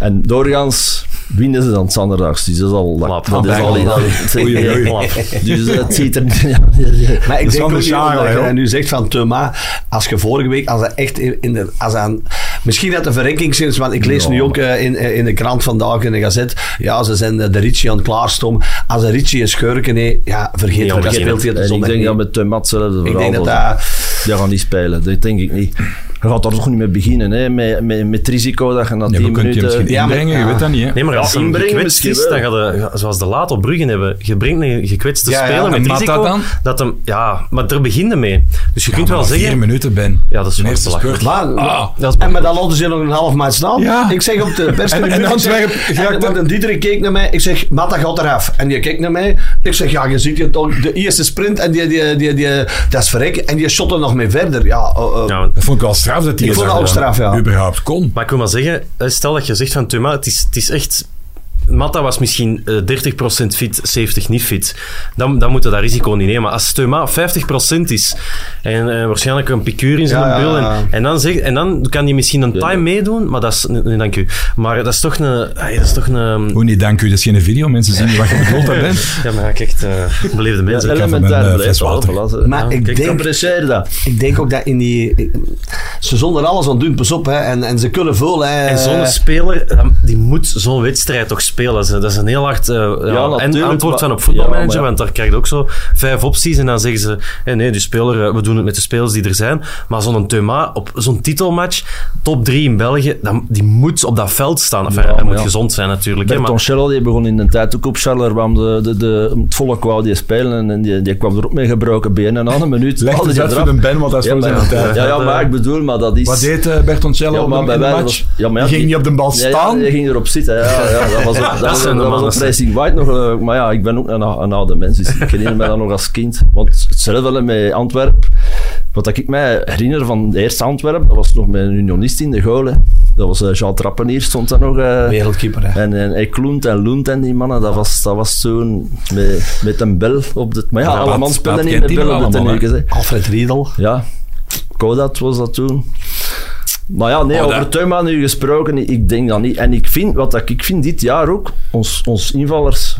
S4: En doorgaans winnen ze dan zaterdags. Dus dat is al...
S3: Klap.
S4: Dat is
S3: Ah,
S4: al...
S3: bijna.
S4: dat-
S1: Oei, oei, oei.
S3: Klap.
S4: Dus eh, het ziet er... ja,
S2: Maar ik
S1: Dat is
S2: denk
S1: van
S2: ook
S1: de
S2: niet,
S1: Sjagel,
S2: omdat
S1: hè,
S2: je
S1: joh.
S2: nu zegt van Thuma, als je vorige week, als dat echt in in de, als aan, misschien dat de verrenkings is, want ik lees nu ook eh, in, eh, in de krant vandaag in de gazet, ja, ze zijn eh, de Ritchie aan het klaarstom. Als de Ritchie een schurken, nee, ja, vergeet
S3: Ja,
S2: het, dat
S3: maar
S2: speelt hier de
S4: En ik
S2: zondag
S4: denk
S2: niet.
S4: dat met de mat zelf de
S2: Ik
S4: verhaal
S2: denk dat
S4: was.
S2: dat...
S4: Die gaan niet spelen, dat denk ik niet. Je gaat daar toch niet mee beginnen, hè? Met, met, met het risico dat je na
S1: Ja,
S4: 10
S1: we kunnen je
S4: minuten...
S1: misschien
S2: Ja, maar-
S1: inbrengen, je
S2: ja.
S1: weet dat niet. Hè?
S3: Nee, maar als
S4: Ja,
S3: een
S4: inbrengen
S3: gekwetst
S4: misschien
S3: is, dan
S4: wel.
S3: gaat je, zoals de laat op Bruggen hebben, je brengt een gekwetste
S2: Ja, ja,
S3: speler
S1: en
S3: met
S1: Mata
S3: risico.
S1: dan?
S3: Dat hem, ja, maar daar begin je mee. Dus je
S1: Ja,
S3: kunt
S1: maar
S3: wel
S1: na
S3: zeggen...
S1: Vier minuten, Ben.
S3: Ja, dat is
S1: De
S3: wel
S1: eerste
S3: belachelijk.
S1: spurt.
S2: Maar,
S1: Ah.
S3: Dat is
S2: en met dat laten ze nog een half maand staan.
S1: Ja.
S2: Ik zeg op de perstribune...
S1: En- en Antwerpen
S2: ik zeg-
S1: raakt
S2: en- want een Dieter keek naar mij. Ik zeg, Matta gaat eraf. En die kijkt naar mij. Ik zeg, ja, je ziet je toch de eerste sprint. En die, die, die, die, dat is verrek. En die shot er nog mee verder. Ja, eh, eh,
S3: Ja, want-
S1: Dat vond ik wel straf dat hij
S2: Ik
S1: dat
S2: vond dat ook
S1: gedaan.
S2: straf, ja.
S1: überhaupt kon.
S3: Maar ik wil maar zeggen, eh, stel dat je zegt van Tuma, het is, het is echt... Matta was misschien eh, 30% fit, 70% niet fit. Dan, dan moeten we dat risico niet nemen. Maar als Tuma 50% is en eh, waarschijnlijk een picuur in zijn
S2: Ja, ja,
S3: bil...
S2: ja.
S3: En, en, dan zeg, en dan kan hij misschien een time meedoen, maar dat is... Nee, nee, dank u. Maar dat is toch een... eh, Hey, dat is toch een
S1: Hoe niet, dank u. Dat is geen video. Mensen zien niet wat je bedoeld hebt, Ben.
S3: ja, maar ik echt eh beleefde mensen.
S1: Ja,
S4: elementair
S1: van een, eh,
S4: blijft
S1: fles water.
S4: wel, voilà.
S2: Maar
S3: Ja,
S2: ik
S3: kijk,
S2: denk...
S4: Apprecieer dat.
S2: Ik denk ook dat in die... Ze zonder alles aan doen, pas op. Hè. En, en ze kunnen veel. Hè.
S3: En zo'n speler, eh, die moet zo'n wedstrijd toch spelen. Dat is, dat is een heel hard eh, ja, en
S4: natuurlijk,
S3: antwoord
S4: maar-
S3: van op voetbalmanager,
S4: ja, maar ja.
S3: want daar krijg je ook zo vijf opties en dan zeggen ze, eh, nee, die speler, eh, we doen het met de spelers die er zijn. Maar zo'n Thuma, op zo'n titelmatch, top drie in België, dan, die moet op dat veld staan. Enfin,
S4: Ja,
S3: hij
S4: maar
S3: moet
S4: ja.
S3: gezond zijn natuurlijk. hè,
S4: Berton
S3: maar,
S4: Schellel, die begon in de tijd ook op Charler, waarom de, de, de, het volk wou die spelen en die, die kwam er ook mee gebroken benen en aan een minuut.
S1: Leg
S4: haalde
S1: het
S4: die
S1: uit voor
S4: eraf.
S1: de Ben, want dat is
S4: ja,
S1: voor
S4: maar,
S1: zijn
S4: ja,
S1: tijd.
S4: ja, ja, maar ik bedoel, maar dat is...
S1: Wat deed eh, Bertoncello
S4: Ja, maar
S1: op
S4: bij
S1: in de
S4: wij
S1: match?
S4: was- ja, maar ja,
S1: die ging
S4: die-
S1: niet op de bal
S4: Ja,
S1: staan.
S4: Ja, die ging erop zitten. Ja, ja, dat was, dat
S3: dat
S4: was,
S3: zijn de
S4: dat was
S3: mannen.
S4: op Racing White nog. eh, Maar ja, ik ben ook een, een oude mens, dus ik herinner me dat nog als kind. Want hetzelfde wel met Antwerp. Wat ik mij herinner van de eerste Antwerp, dat was nog met een unionist in de goal. hè. Dat was eh, Jean Trappenier, stond daar nog. eh,
S2: Wereldkeeper, hè.
S4: en, en Ekloent en Loent en die mannen, dat was, dat was toen met, met een bel op de... Maar ja,
S1: Ja,
S4: alle
S1: dat-
S4: man
S1: dat
S4: speelden in
S1: kent
S4: de
S1: hij
S4: bel op de
S1: allemaal, hè.
S4: tenuukjes, hè.
S2: Alfred Riedel.
S4: Ja, Kodat was dat toen. Maar ja, nee,
S1: Oh,
S4: over
S1: dat-
S4: Teuma nu gesproken, ik denk dat niet. En ik vind, wat dat, ik vind dit jaar ook, ons, ons invallers,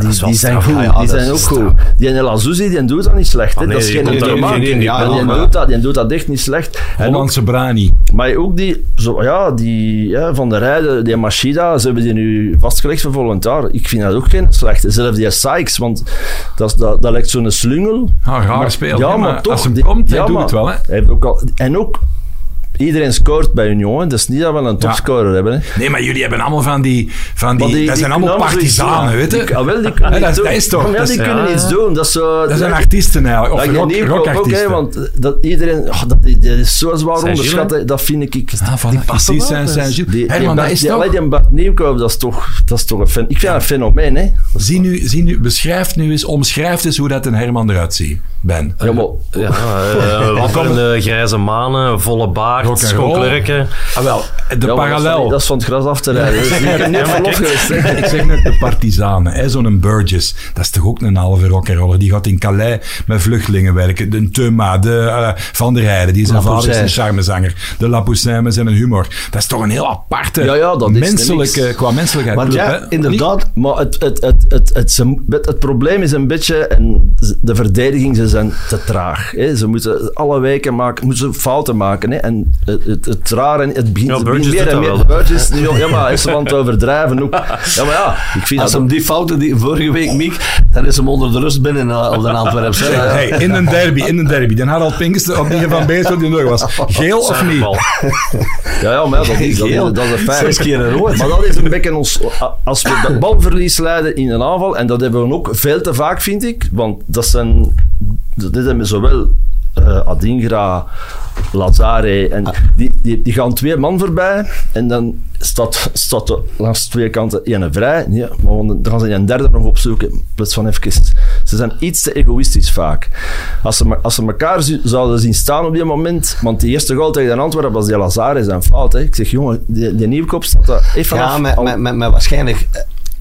S4: die,
S3: is wel
S4: die zijn
S3: straf.
S4: goed.
S3: Ja, ja,
S4: die
S3: dat
S4: zijn ook
S3: is
S4: goed. Die en Elazouzi, die doet dat niet slecht. hè.
S3: Ah, nee,
S4: dat is
S3: die
S4: geen
S3: komt daar
S4: normaal.
S3: ook in, die
S4: Ja, die
S2: bal,
S4: doet dat, die doet dat echt niet slecht. En ook,
S1: Hollandse Brani.
S4: maar ook die, zo, ja, die ja, van de rijden, die Machida, ze hebben die nu vastgelegd voor volgend jaar. Ik vind dat ook geen slechte. Zelfs die Sykes, want dat, is- dat, dat lijkt zo'n slungel.
S1: Ah, raar
S4: Maar-
S1: speler.
S4: Ja,
S1: hè,
S4: maar, toch.
S1: Als hem
S4: die-
S1: komt, hij
S4: ja,
S1: doet
S4: maar
S1: het wel. Hè.
S4: hij heeft ook al, en ook, iedereen scoort bij Union. hè. Dat is niet dat we een topscorer hebben. Hè.
S1: Nee, maar jullie hebben allemaal van die... Van die,
S4: Maar
S1: dat zijn allemaal
S4: kunnen allemaal
S1: partizanen, weet
S4: zoiets doen.
S1: je?
S4: Die- ah, wel, die
S1: Ja,
S4: kunnen
S1: dat is-
S4: iets doen.
S1: dat is toch-
S4: Ja,
S1: dat
S4: die
S1: is-
S4: kunnen
S3: ja.
S4: iets doen. Dat, is eh, zo,
S1: Dat zijn
S4: dat-
S1: artiesten eigenlijk. Of
S4: dat je
S1: rock,
S4: niet koopt ook, hè,
S1: rockartiesten.
S4: want eh, dat iedereen, oh, dat, die- die is zo zwaar
S3: Zijn
S4: onderschat,
S3: Gilles,
S4: hè. dat vind ik. ik
S1: Ah, voilà,
S3: passen
S1: precies,
S3: wel,
S1: zijn,
S3: dus.
S1: zijn Gilles.
S4: die, die
S1: Herman, dat
S4: Bart,
S1: is
S4: die,
S1: toch...
S4: allee, die Bart Nieuwkoop, dat is toch, dat is toch een, fen, ik vind dat een fenomeen. Hè?
S1: Zie nu, zie nu, beschrijf nu eens, omschrijf eens hoe dat een Herman eruit ziet, Ben.
S4: Ja, maar,
S3: ja, eh, wapperende grijze manen, volle baard,
S1: Rock and roll.
S3: schokkelrekken.
S1: Ah, wel, de
S4: ja, maar dat is van-
S1: parallel.
S4: Dat is van het gras af te rijden. Dus ik heb niet
S3: Ja, maar
S4: van
S3: kijk.
S4: opgeweest. hè.
S1: ik zeg net de partizanen, hè, zo'n Burgess. Dat is toch ook een halve rock'n'roller. Die gaat in Calais met vluchtelingen werken. De Thuma, de eh, Van der Heijden, die zijn vader is een
S4: Poussin.
S1: charmezanger. De Lapoussin met zijn humor. Dat is toch een heel aparte,
S4: Ja, ja, dat is
S1: menselijke,
S4: niks.
S1: qua menselijkheid.
S2: Want
S1: club,
S2: ja,
S1: hè?
S2: inderdaad.
S4: Maar het, het, het, het, het, ze- het, het probleem is een beetje, en de verdediging, ze zijn te traag. Hè. Ze moeten alle weken maken, moeten ze fouten maken. Hè. En het, het, het raar en het begint
S3: Ja,
S4: het
S3: Burgess
S4: begint
S3: doet dat
S4: meer. Burgess, nu, ja, maar hij is aan het overdrijven ook. Ja, maar ja, ik vind
S2: Als
S4: dat...
S2: hem die fouten die vorige week miek, dan is hem onder de rust binnen eh, op de Antwerpse.
S1: Niet-
S2: hè.
S1: Hey, in een derby, in een derby. Den Harald Pinkster op die van Beestel die nog was. Geel of niet?
S3: Bal.
S4: Ja, ja maar ja, dat is, dat is,
S2: Geel.
S4: dat is een feit.
S2: Zes keer een rood.
S4: Maar dat is een beetje ons... Als we dat balverlies leiden in een aanval, en dat hebben we ook veel te vaak, vind ik. Want dat zijn... Dit hebben zowel eh, Adingra, Lazare... En die, die, die gaan twee man voorbij. En dan staat, staat er langs twee kanten één vrij. Ja, maar dan gaan ze een derde nog opzoeken. in plaats van even... Ze zijn iets te egoïstisch vaak. Als ze, me- als ze elkaar zo- zouden zien staan op die moment... Want die eerste goal tegen Antwerpen was die Lazare zijn fout. Hè. Ik zeg, jongen, die, die nieuwkoop staat er even
S2: Ja,
S4: af.
S2: maar,
S4: Al-
S2: maar, maar, maar waarschijnlijk,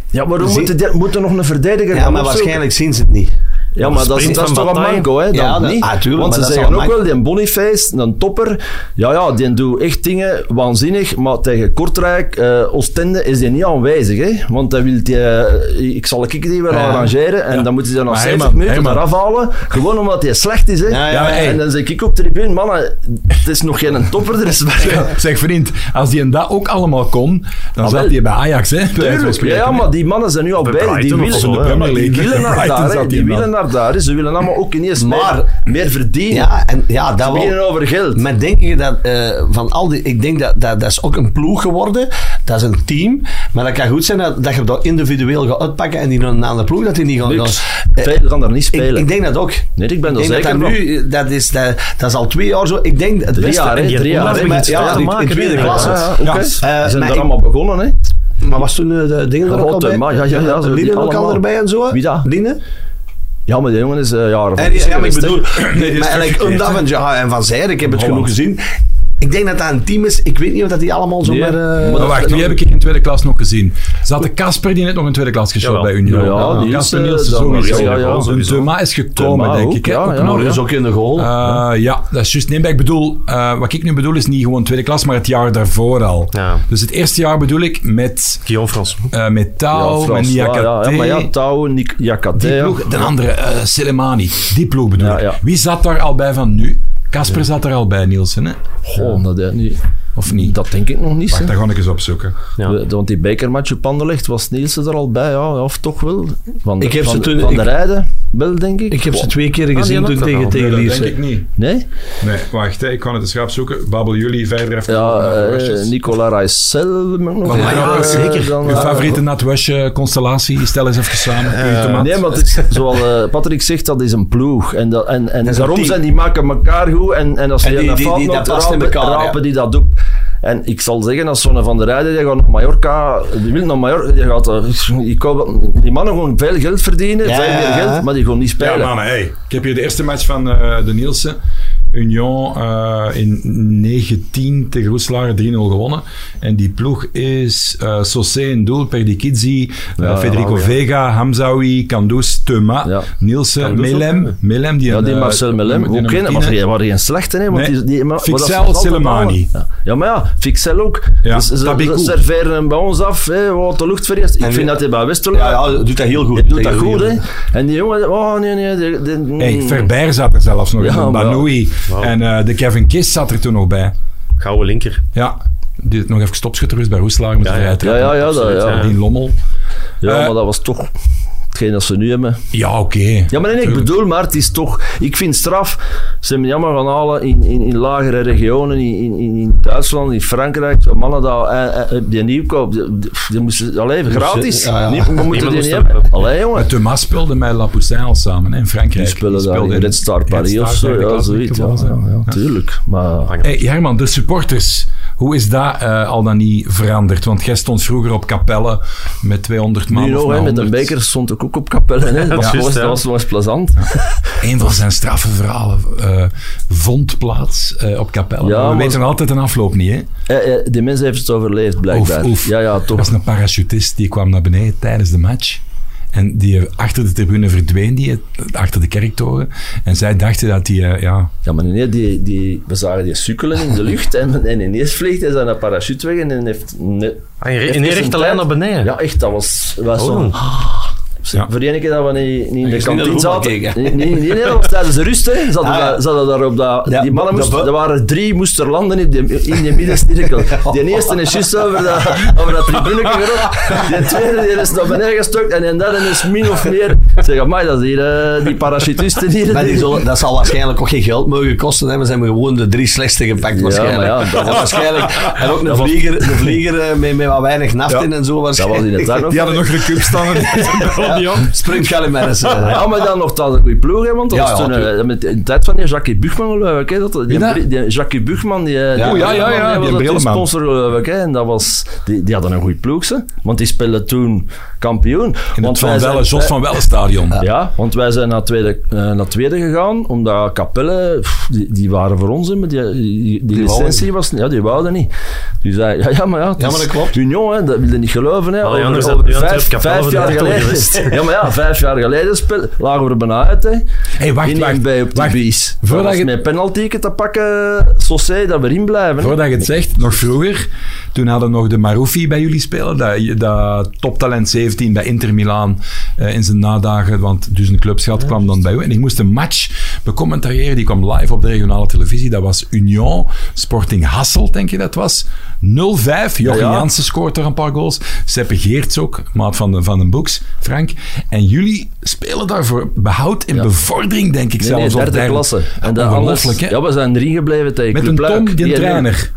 S4: ja, maar we
S2: Zie-
S4: moeten, die- moeten nog een verdediger
S2: ja,
S4: gaan
S2: maar
S4: opzoeken.
S2: waarschijnlijk zien ze het niet.
S4: Ja, maar dat is,
S3: Sprint
S4: dat is
S3: van
S4: toch een
S3: Bataille?
S4: manko, hè? Dan
S2: Ja, dat-
S4: niet.
S2: ah, tuurlijk,
S4: Want
S2: maar
S4: ze
S2: dat is
S4: zeggen
S2: al
S4: ook
S2: mank-
S4: wel, die Boniface, een topper, ja, ja, die doet echt dingen waanzinnig, maar tegen Kortrijk, eh Oostende, is die niet aanwezig, hè? Want dan wil die, eh, ik zal ik die weer arrangeren, en dan moeten ze dan nog
S1: Maar
S4: 70
S1: Herman,
S4: minuten
S1: Herman.
S4: eraf halen, gewoon omdat hij slecht is, hè?
S2: Ja, ja,
S1: ja.
S4: En dan zeg ik op tribune, mannen, het is nog geen topper, er is werk aan.
S1: Zeg vriend, als die en dat ook allemaal kon, dan
S4: Ah, wel.
S1: zat hij bij Ajax, hè? bij wijze van
S4: Tuurlijk, ja,
S1: spreken.
S4: ja, maar die mannen zijn nu al
S3: Bij
S4: bij. Die
S3: Brighton of
S4: willen,
S3: zo,
S1: hè?
S4: die
S1: Premier League.
S4: willen
S1: Bij
S4: naar
S1: Brighton
S4: daar. hè.
S1: zat
S4: Die
S1: die man.
S4: willen naar daar. hè. Ze willen allemaal ook ineens
S2: Maar-
S4: meer, meer verdienen.
S2: Ja, en ja,
S4: Ze
S2: dat
S4: beginnen
S2: wel.
S4: over geld.
S2: Maar denk je dat eh, van al die... Ik denk dat, dat dat is ook een ploeg geworden. Dat is een team. Maar dat kan goed zijn dat, dat je dat individueel gaat uitpakken en die naar een andere ploeg, dat die niet gaan...
S4: Niks.
S2: gaan-
S4: Veel eh, gaan daar niet
S2: Ik,
S4: spelen.
S2: ik denk dat ook.
S4: Nee, ik ben
S2: denk
S4: er
S2: dat
S4: zeker
S2: dat
S4: van.
S2: nu, eh, dat is, dat, dat is al twee jaar zo. Ik denk het
S4: Drie
S2: beste.
S4: jaar, hè?
S3: En die
S4: Drie jaar.
S3: Honda
S4: hè.
S2: maar-
S3: begint
S2: ja,
S3: ja, te
S2: die- die
S3: maken.
S2: tweede
S3: weer,
S2: klasse.
S3: hè.
S4: Ja,
S3: Ja,
S4: oké.
S2: Ja.
S4: Ze
S2: Eh,
S4: zijn
S2: maar
S4: daar
S2: ik-
S4: allemaal begonnen, hè?
S2: Maar was toen eh, de dingen er ook al
S4: Rotte,
S2: bij?
S4: maar ja, ja, ja, zo die
S2: Linnen ook al
S4: allemaal.
S2: erbij en zo?
S4: Wie dat?
S2: Linnen?
S4: Ja, maar die jongen is eh jaren
S2: En die- ja, maar ik bedoel,
S1: die is
S2: maar eigenlijk
S1: teruggekeerd,
S2: Undav
S1: hè?
S2: en Jaha en Van Zijr, ik heb het genoeg
S1: Holland.
S2: gezien. Ik denk dat dat een team is, ik weet niet of dat die allemaal zo
S4: Nee,
S2: maar... eh,
S1: Maar wacht, wie heb ik in tweede klas nog gezien? Zat de Kasper die net nog in tweede klas geschoten
S3: Jawel.
S1: bij Union?
S4: Ja, die is,
S1: Kasper
S4: eh,
S1: Nielsen
S4: dan-
S1: sowieso.
S4: ja, ja,
S1: Een
S3: sowieso.
S1: Thuma is gekomen,
S4: Thuma
S1: denk
S4: ook,
S1: ik. hè?
S4: ja,
S1: Ook
S4: ja.
S1: een
S4: Maar
S2: er
S1: Oranje.
S2: is ook in de goal.
S1: Eh, ja, dat is juist. Nee, maar ik bedoel, eh, wat ik nu bedoel is niet gewoon tweede klas, maar het jaar daarvoor al.
S3: Ja.
S1: Dus het eerste jaar bedoel ik met,
S3: Guillaume Frans.
S1: eh met
S4: Ja,
S1: Tau, met
S4: Frans, ja, ja,
S1: Niakate.
S4: ja, maar ja, Touw, Nik- Jacate.
S1: die
S4: ja.
S1: ploeg, de andere, eh Selemani. Die ploeg bedoel
S4: Ja,
S1: ik.
S4: ja.
S1: Wie zat daar al bij van nu? Kasper zat er al bij, Nielsen, hè?
S4: Goh, dat, eh, niet-
S1: Of niet?
S4: dat denk ik nog niet.
S1: Wacht,
S4: hè.
S1: dat ga ik eens opzoeken.
S3: Ja.
S4: We- Want die bekermatch op Anderlecht was Nielsen er al bij, ja, ja, of toch wel? Van de,
S2: Ik heb ze
S4: van,
S2: toen-
S4: van de
S2: ik-
S4: Rijden, wel denk ik.
S2: ik heb ze
S4: Goh.
S2: twee keer
S3: die
S1: Ah,
S2: gezien
S3: had
S2: toen
S3: dat
S2: tegen,
S3: al.
S1: Oh, Nee,
S2: tegen
S1: dat
S2: Lierse.
S1: denk ik niet.
S4: Nee?
S1: Nee, wacht, hè, ik kan het eens gaan opzoeken. Babbel jullie verder even.
S4: Ja,
S1: over de
S4: eh,
S1: Russians.
S4: Nicolas Rijssel. moet ik nog
S1: Van
S4: zeggen.
S1: Brabant,
S4: Eh,
S1: zeker.
S4: dan,
S1: Uw
S4: eh,
S1: favoriete natwasje constellatie, stel eens even samen. Pieter Maat.
S4: Nee, maar het is, zoals eh, Patrick zegt, dat is een ploeg. En, dat, en, en
S2: is een
S4: daarom
S2: team.
S4: zijn die maken elkaar goed. En, en als
S2: En
S4: je
S2: die-
S4: een
S2: die-
S4: fout
S2: die- dat
S4: maakt,
S2: past in
S4: rapen,
S2: elkaar, ja.
S4: rapen die dat op. En ik zal zeggen, als zo'n Van der Rijden, die gaat naar Mallorca, die wil naar Mallorca, die, gaat, eh, die, kopen- die mannen gewoon veel geld verdienen,
S2: Ja,
S4: veel
S2: ja,
S4: meer
S2: ja.
S4: geld, maar die gaan niet
S1: Ja,
S4: spelen.
S1: mannen, hey. Ik heb hier de eerste match van eh, de Nielsen. Union eh, in 19 tegen Roeselare 3-0 gewonnen. En die ploeg is eh Sosé in doel, Perdikidzi, eh,
S4: Ja,
S1: Federico
S4: ja.
S1: Vega, Hamzaoui, Kandous, Teuma,
S4: Ja.
S1: Nielsen, Melem. Melem die
S4: ja,
S1: een,
S4: die
S1: eh,
S4: Marcel
S1: die
S4: Melem,
S1: nummer
S4: ook geen, maar
S1: 10, hè.
S4: die waren geen slechte, hè? Want
S1: Nee.
S4: die, die, maar, maar dat
S1: Fixel,
S4: valt altijd
S1: Selemani.
S4: aan. Ja, maar ja, Fixel ook.
S1: Ja,
S4: Dus ze,
S1: Tabikou.
S4: ze serveren hem bij ons af, hè, wat de lucht vereerst. Ik
S2: En
S4: vind
S2: die-
S4: dat hij bij Westerlo
S2: Ja, ja, doet dat heel goed.
S4: Je doet dat
S2: tegen
S4: goed, hè?
S2: Lierse.
S4: En die jongen, oh nee, nee. De, de,
S1: Hey, Verbeer zat er zelfs nog
S4: Ja,
S1: in.
S4: maar-
S1: Banoui. En eh, de Kevin Kist zat er toen nog bij.
S3: Gouden linker.
S1: Ja, die nog even stopschutter is bij Roeslagen met
S3: Ja,
S1: de
S3: ja.
S1: vrijheid.
S4: Ja, ja, ja. Dat,
S3: Absoluut,
S4: ja.
S1: Die Lommel.
S4: ja,
S1: Eh,
S4: maar dat was toch hetgeen dat ze nu hebben.
S1: Ja, oké.
S4: Ja, maar nee, ik
S1: Tuurlijk.
S4: bedoel, maar het is toch... Ik vind straf, ze hebben jammer gaan halen in, in, in lagere regionen, in, in, in- in Duitsland, in Frankrijk. Zo mannen daar, eh, eh, die nieuwkoop, die, die- die moesten... Allee, gratis.
S2: ja, ja.
S4: Niet- we moeten die
S3: moest
S4: niet
S3: hem-
S4: hebben. Allee, jongen.
S1: Maar Thomas speelde met La Poussin al samen hè, in Frankrijk.
S4: Die spelen daar in
S1: speelde
S4: Red Star Paris
S1: Red
S4: of
S1: Star,
S4: zo.
S1: derde
S4: Ja,
S1: klas,
S4: zoiets. Ja,
S1: moet ik wel
S4: ja,
S1: zeggen.
S4: ja, tuurlijk. Maar...
S1: Hey, Herman, de supporters. Hoe is dat eh, al dan niet veranderd? Want jij stond vroeger op Capelle met 200 man.
S4: Nu
S1: of
S4: nog,
S1: met
S4: hè, met een
S1: 100.
S4: beker stond ik ook op kapellen. hè. Dat was
S3: Ja.
S4: gewoon- dat was wel eens plezant.
S1: Een van zijn straffe verhalen eh, vond plaats eh, op Capelle.
S4: Ja,
S1: we
S4: maar-
S1: weten nog altijd een afloop niet, hè?
S4: Eh, eh, die mens heeft het overleefd, blijkbaar.
S1: Oef, oef.
S4: Ja, ja,
S1: Er
S4: toch.
S1: was een parachutist die kwam naar beneden tijdens de match. En die achter de tribune verdween, die, eh, achter de kerktoren. En zij dachten dat die, eh, ja...
S4: Ja, maar nee, die, die, we zagen die sukkelen in de lucht en, en ineens vliegt hij zijn parachute weg en heeft... Ne,
S3: Ah, in re-
S4: heeft
S3: in één
S4: dus een
S3: rechte
S4: tijd-
S3: lijn naar beneden.
S4: Ja, echt, dat was, was
S3: Oh.
S4: zo'n...
S1: Ja.
S4: Voor de ene keer dat we niet, niet in de
S2: Ah. is niet naar
S4: kantine
S2: de hoek
S4: zaten. Nee,
S2: gekeken.
S4: nee, nee, nee, dat was tijdens de rust. Hè. Ze hadden
S2: Ah, ja.
S4: daar- ze hadden daar op dat,
S2: Ja,
S4: die mannen
S2: dat
S4: moesten,
S2: we-
S4: er waren drie, moesten er landen in de, in de middencirkel. Die eerste is juist over dat, over dat tribune gerond. Die tweede die is naar beneden gestokt. En die derde is min of meer. Ik Zeg, amai, dat is hier, eh, die parachutisten hier.
S2: Maar die zullen- dat zal waarschijnlijk ook geen geld mogen kosten. Hè. We zijn gewoon de drie slechtste gepakt waarschijnlijk.
S4: maar ja, dat
S2: en
S4: was-
S2: waarschijnlijk. En ook een vlieger, een vlieger eh, met, met wat weinig naft in en zo
S4: dat was
S2: waarschijnlijk.
S4: in het tuin ook.
S1: hadden nog een cup staan.
S2: Springt Gallimaris.
S4: Ja, maar dan nog dat een goede ploeg, hè, want dat
S2: Ja,
S4: was
S2: ja,
S4: toen, eh,
S2: tuurlijk.
S4: met de tijd van die Jackie Buchman, geloof ik. Hè, dat, die,
S1: dat?
S4: Bri- die Jackie Buchman, die, ja,
S1: ja, ja, ja, die
S4: was toen
S1: brillenman.
S4: sponsor, geloof ik. Hè, en dat was, die, die hadden een goede ploeg, ze, want die speelden toen kampioen.
S1: In
S4: want
S1: het Van
S4: wij zijn-
S1: Welle, Jos van Welle stadion.
S4: wij- Ja, want wij zijn naar tweede, eh, naar tweede gegaan, omdat Capelle, pff, die, die waren voor ons, hè, maar die, die, die
S2: wouden
S4: licentie was niet, ja, die wouden niet. Dus hij, ja, ja, maar ja, het
S2: Ja, maar
S4: is
S2: dat klopt.
S4: Union, hè, dat wilde niet geloven. Hè,
S3: Alle
S4: over,
S3: anderen
S4: over
S3: zijn- ja,
S4: vijf,
S3: Capelle
S4: vijf
S3: voor de
S4: jaar
S3: titel
S4: geleden.
S3: geweest.
S4: Ja, maar ja, vijf jaar geleden speel, lagen we er bijna uit. Hè.
S1: hey, wacht,
S4: in
S1: wacht.
S4: bij op de
S1: wacht.
S4: bies.
S1: Voordat
S4: Voordat
S1: je-
S4: je met penalty te pakken, Sossé, dat we erin blijven. hè.
S1: Voordat je het zegt, nog vroeger, toen hadden we nog de Maroufi bij jullie spelen, dat, dat toptalent 17 bij Inter Milaan eh, in zijn nadagen, want dus een clubschat kwam dan bij u. En ik moest een match becommentariëren, die kwam live op de regionale televisie, dat was Union Sporting Hasselt, denk je dat was. 0-5, Jochen
S4: Ja, ja.
S1: Jansen scoort er een paar goals, Seppe Geerts ook, maat van de, van de Boeks, Frank. En jullie spelen daarvoor behoud en bevordering, denk ik
S4: Nee, nee,
S1: zelfs. op
S4: derde klasse. En dat
S1: Ongelooflijk,
S4: anders,
S1: hè?
S4: ja, we zijn erin gebleven tegen
S1: Met een
S4: Club Luik.
S1: Tom, die,
S4: Die-
S1: trainer.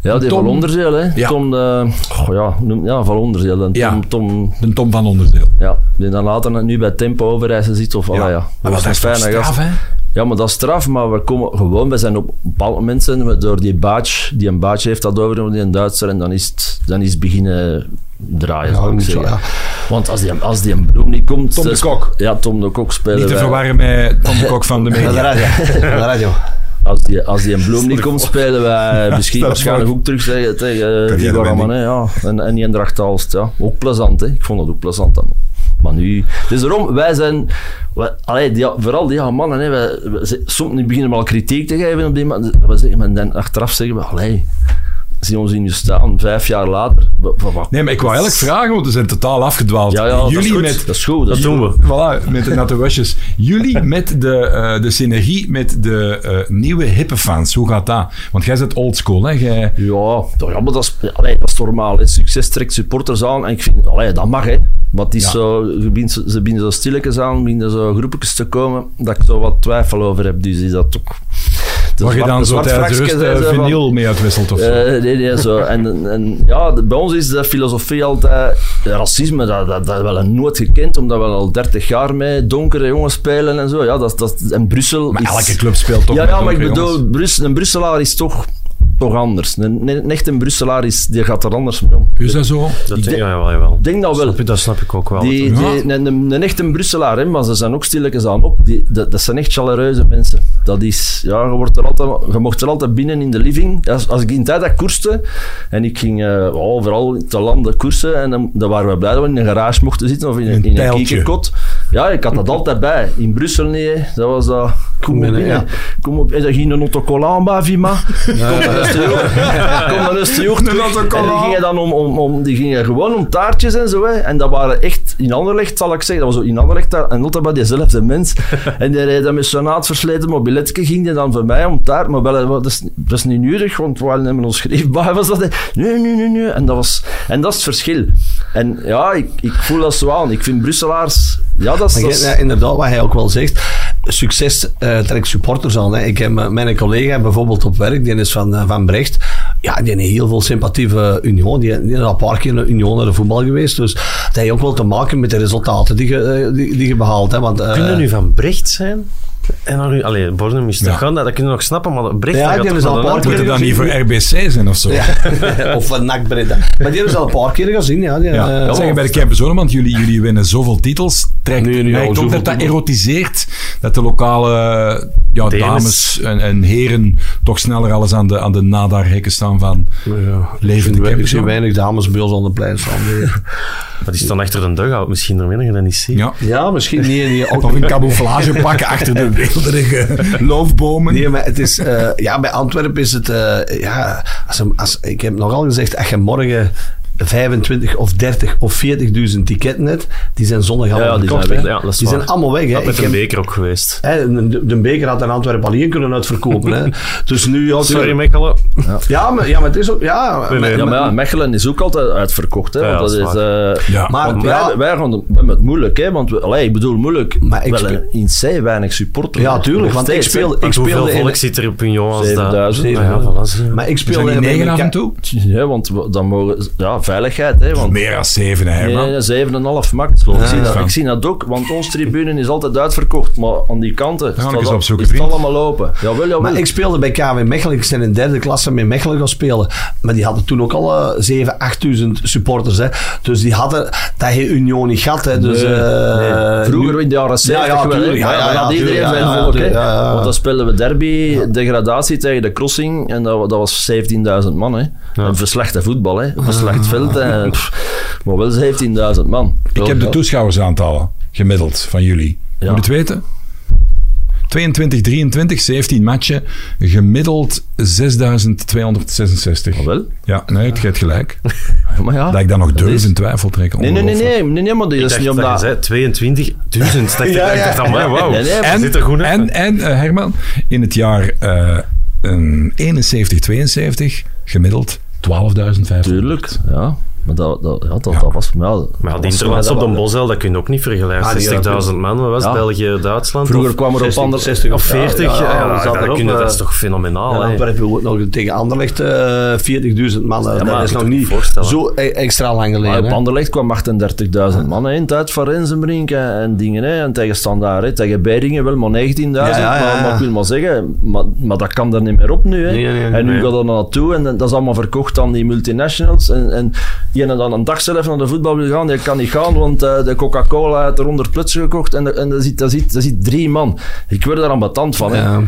S4: Ja, die
S1: Tom-
S4: van Onderdeel, hè.
S1: Ja.
S4: Tom, de, oh ja, hoe noemt- ja, van Onderdeel. En Tom,
S1: Ja.
S4: Tom,
S1: De Tom van Onderdeel.
S4: ja, die dan later nu bij Tempo Overijssel zit. Of, ja. ja.
S1: Maar dat is toch
S4: fijne gast.
S1: straf, hè?
S4: Ja, maar dat is straf, maar we komen gewoon, we zijn op een bepaald moment zijn we door die baatj, die een baatje heeft dat overgenomen, die een Duitser, en dan is het, dan is het beginnen draaien,
S2: Ja,
S4: zou ik
S2: moet je-
S4: zeggen.
S2: ja.
S4: Want als die, als die een bloem niet komt...
S1: Tom de
S4: eh,
S1: Kok.
S4: Ja, Tom de Kok spelen
S1: Dus Niet te
S4: wij-
S1: verwarren met Tom de Kok van de
S2: Naar de
S1: media.
S2: radio. Naar de radio.
S4: Als die, als die een bloem niet komt, spelen wij misschien
S1: Stel
S4: waarschijnlijk
S1: voor.
S4: ook terug tegen, tegen
S1: jij
S4: eh, Igor
S1: dat
S4: Ramané, ja. En, en die Drachtalst, ja. Ook plezant, hè. Ik vond dat ook plezant, hè. Maar nu... Dus daarom, wij zijn... Wij, allee, die, vooral die jonge mannen, hè. Wij, wij ze- soms beginnen we al kritiek te geven op die man. We zeggen, maar dan achteraf zeggen we, allee, zie ons in je staan, vijf jaar later. Wa- wa- wa-
S1: Nee, maar ik wou eigenlijk vragen, want we zijn totaal afgedwaald.
S4: ja, ja, dat is
S1: jullie
S4: goed.
S1: met...
S4: dat is goed. Dat,
S3: Dat
S4: is
S3: doen
S4: goed.
S3: we.
S1: Voilà, met de natte wasjes. Jullie met de, eh, de synergie met de eh, nieuwe hippe fans. Hoe gaat dat? Want jij zit oldschool, hè? Jij...
S4: Ja, toch, ja, maar dat is, allee, dat is normaal. Hè. Succes trekt supporters aan en ik vind, allee, dat mag hè. Maar het is
S1: Ja.
S4: zo, je begint zo- ze beginnen zo stilletjes aan, beginnen zo groepjes te komen, dat ik zo wat twijfel over heb. Dus is dat toch... De
S1: Waar je
S4: zwart-
S1: dan
S4: de
S1: zo
S4: zwart
S1: tijdens
S4: vrachtjes
S1: rust
S4: zijn
S1: eh,
S4: zo van-
S1: vinyl mee uitwisselt of zo.
S4: eh, nee, nee, zo. En, en ja, de- bij ons is de filosofie altijd... eh, Racisme, dat, dat, dat wel nooit gekend, omdat we al 30 jaar mee donkere jongens spelen en zo. Ja, dat, dat, en Brussel
S1: maar
S4: is...
S1: elke club speelt toch
S4: Ja,
S1: met
S4: ja maar ik
S1: donkere
S4: bedoel,
S1: jongens.
S4: Brus- een Brusselaar is toch, toch anders. Een, een, een echte Brusselaar is, die gaat er anders mee om.
S1: Is dat zo?
S3: Dat denk,
S4: Ik denk-
S3: ja, jawel, jawel.
S4: Ik denk dat wel.
S3: Snap je, dat snap ik ook wel.
S4: Die,
S1: Ja.
S4: die, een, een, een echte Brusselaar, hè, maar ze zijn ook stilletjes aan op. Die, dat, dat zijn echt chaleureuze mensen. Dat is, ja, je, wordt er altijd, je mocht er altijd binnen in de living. Als, als ik in tijd dat koerste, en ik ging eh, overal te landen koersen, en dan, dan waren we blij dat we in een garage mochten zitten of in,
S1: Een
S4: een- in een
S1: pijltje.
S4: kiekenkot. Ja, ik had dat altijd bij. In Brussel niet, hè. dat was dat... Kom op,
S2: Binnen,
S4: binnen.
S2: ja.
S4: Kom op, en dan ging een autocollant bij Vima. Kom dan eens terug. Kom dan eens terug.
S1: Een
S4: En die
S1: autocollant.
S4: gingen dan om, om, om, die gingen gewoon om taartjes en zo. Hè. En dat waren echt, in Anderlecht zal ik zeggen, dat was ook in Anderlecht daar- en altijd bij diezelfde mens. en die reed dan met zo'n uitversleten mobiletje, ging die dan voor mij om taart. Maar wel, eh, wat, dat, is, dat is niet nodig, want we hebben ons schriftbaar. Was dat, hè. nee, nee, nee, nee. En dat, was, en dat is het verschil. En ja, ik, ik voel dat zo aan. Ik vind Brusselaars... Ja, dat is...
S2: Maar
S4: dat
S2: jij-
S4: is-
S2: ja, eh, inderdaad, wat hij ook wel zegt. Succes eh, trekt supporters aan. Hè. Ik heb eh, mijn collega bijvoorbeeld op werk, die is van, eh, van Brecht. Ja, die heeft heel veel sympathie voor Union. Die, die is al een paar keer naar Union naar de voetbal geweest. Dus dat heeft ook wel te maken met de resultaten die je, eh, die, die je behaalt. Hè. Want, eh,
S3: Kunnen nu van Brecht zijn? En dan nu, allee, Bornem is toch
S1: Ja.
S3: gaan, dat kunnen we nog snappen, maar Brecht...
S2: Ja,
S3: dat
S2: die hebben
S3: gaat toch
S2: ze al
S3: wel
S2: een
S1: Moet
S2: paar
S3: een-
S1: het dan niet voor RBC zijn of zo?
S2: ja, of van NAC Breda. Maar die hebben ze al een paar keer gezien. Ja, die,
S1: Ja,
S2: eh,
S1: dat zeggen bij de Campus want jullie, jullie winnen zoveel titels. Trekt,
S2: Nee, nee,
S1: merkt
S2: ja,
S1: ook
S2: zoveel
S1: dat dat
S2: titels.
S1: erotiseert, dat de lokale ja,
S3: Dames.
S1: dames en, en heren toch sneller alles aan de, aan de nadarhekken staan van
S2: ja.
S1: levende
S2: Ik zie- Ik
S1: Campus
S2: zie weinig dames bij ons aan de plein staan. Nee.
S3: Maar die staan achter een dugout, misschien er minder dan niet zien.
S1: Ja.
S2: Ja, misschien niet. niet ook,
S1: Of een camouflagepak achter de weelderige loofbomen.
S2: Nee, maar het is, eh, ja, bij Antwerpen is het, eh, ja, als, je- als, ik heb nogal gezegd, als je morgen 25 of 30 of 40.000 ticketen hebt, die zijn zondag allemaal
S3: Ja, die zijn
S2: verkocht,
S3: weg.
S2: hè.
S3: Ja, dat is
S2: die
S3: waar.
S2: zijn allemaal weg. Hè.
S3: Dat met
S2: Ik
S3: een
S2: heb-
S3: beker ook geweest.
S2: hè, de, de beker had in Antwerpen alleen kunnen uitverkopen. Hè. Dus nu... Ja,
S3: Sorry, Mechelen.
S2: Ja, maar, ja, maar het is ook... Ja,
S3: nee,
S2: maar-
S4: Ja, maar ja, Mechelen is ook altijd uitverkocht. Hè,
S3: Ja,
S4: want dat
S3: dat is
S4: is, eh,
S1: Ja.
S2: Maar-
S4: want
S2: ja.
S4: wij, wij gaan de- we hebben het moeilijk, hè? Want we, allee, ik bedoel moeilijk.
S2: Maar
S4: Maar
S2: ik
S4: ik
S2: speel-
S4: wel een in C weinig supporters.
S2: Ja, tuurlijk, want ik speel... Ik
S3: Want
S2: speelde
S3: hoeveel
S2: in-
S3: volk zit er op Union als dat?
S4: 7000.
S3: Ah ja, voilà, zie je.
S2: eh, maar
S1: Zijn
S2: ik speelde...
S1: die
S2: in-
S1: negen
S2: in-
S1: af en toe?
S4: Ja, want we- dan mogen. Ja, veiligheid, hè? Want
S1: Meer dan zeven, hè,
S4: Nee,
S1: man.
S4: nee, nee, 7,5 max. Ik, zie dat,
S1: ja.
S4: ik zie dat ook, want onze tribune is altijd uitverkocht. Maar aan die kanten
S1: ik
S4: staat
S1: eens
S4: al-
S1: opzoeken,
S4: is het
S1: vriend.
S4: allemaal open. Jawel, jawel.
S2: Maar ik speelde bij KW Mechelen. Ik ben in derde klasse met Mechelen gaan spelen. Maar die hadden toen ook al eh, 7, 8000 supporters. Hè. Dus die hadden dat je Union niet gehad. Hè. Dus,
S4: Nee,
S2: eh,
S4: nee. Vroeger
S2: nu-
S4: in de jaren
S2: Ja,
S4: 70
S2: ja,
S4: wel, hè.
S2: tuurlijk. Ja,
S4: Maar
S2: ja,
S4: dan
S2: ja,
S4: had iedereen
S2: tuurlijk.
S4: zijn
S2: Ja, ja,
S4: volk. hè.
S2: tuurlijk. Ja, ja, ja.
S4: Want dan speelden we derby,
S2: Ah.
S4: degradatie tegen de crossing. En dat, wa- dat was 17.000 man. Hè. En verslechte voetbal. Hè. Verslecht veld. En, pff, maar wel 17.000 man.
S1: Ik heb de toeschouwersaantallen gemiddeld van jullie.
S4: Ja.
S1: Moet je het weten? 22, 23, 17 matchen, gemiddeld 6.266.
S4: Maar wel?
S1: Ja, nee, het geeft gelijk.
S4: Maar ja.
S1: Dat ik dan nog durf
S4: is-
S1: in twijfel trekken.
S4: Nee, nee, nee,
S1: Ongelooflijk.
S4: nee, nee, nee, maar dat
S3: Ik
S4: is
S3: dacht
S4: niet
S3: dat je
S4: omdat...
S3: zei 22.000. Dacht ik,
S2: Ja,
S3: ik dacht,
S2: ja.
S3: amai, wauw.
S4: Nee, nee,
S3: en, zit er goed uit.
S1: En, en eh, Herman, in het jaar eh, een 71, 72, gemiddeld 12.500.
S4: Tuurlijk, ja. Maar dat, dat, ja, dat,
S1: Ja.
S4: dat was... Maar, ja, dat
S3: maar ja, die
S4: was voor mij
S3: interlands
S4: dat
S3: op de
S4: wel-
S3: Bosel, dat kun je ook niet vergelijken.
S2: Ah, die
S3: 60.000 man, wat was het?
S4: Ja.
S3: België, Duitsland?
S4: Vroeger
S3: of,
S4: kwam er op
S2: 60,
S4: andere...
S2: 60
S4: of
S3: of 40, ja,
S2: ja, ja, we
S3: dat,
S2: zaten erop,
S3: kun je- dat
S2: eh,
S3: is toch fenomenaal,
S2: Ja,
S3: hè?
S2: dan heb je ook nog tegen Anderlecht eh 40.000 man. eh,
S3: maar
S2: dat
S3: dat
S2: is nog
S3: moet je
S2: niet
S3: voorstellen.
S2: zo e- extra lang
S4: Maar
S2: geleden.
S4: op
S2: hè.
S4: Anderlecht kwam 38.000 man hè, in tijd van Rensenbrink en, en dingen. Hè, en tegen Standaard, hè, tegen Beiringen wel maar 19.000.
S2: Ja, ja, ja.
S4: Maar, maar ik wil maar zeggen, maar, maar dat kan er niet meer op nu. Hè.
S2: Nee, nee,
S4: en nu
S3: nee.
S4: gaat dat naartoe en dat is allemaal verkocht aan die multinationals. En, en die dan een dag zelf naar de voetbal wil gaan, die kan niet gaan, want eh, de Coca-Cola heeft er 100 plutsen gekocht en, er- en daar, zit, daar, zit, daar zit drie man. Ik word daar ambetant van. Hè.
S2: Ja.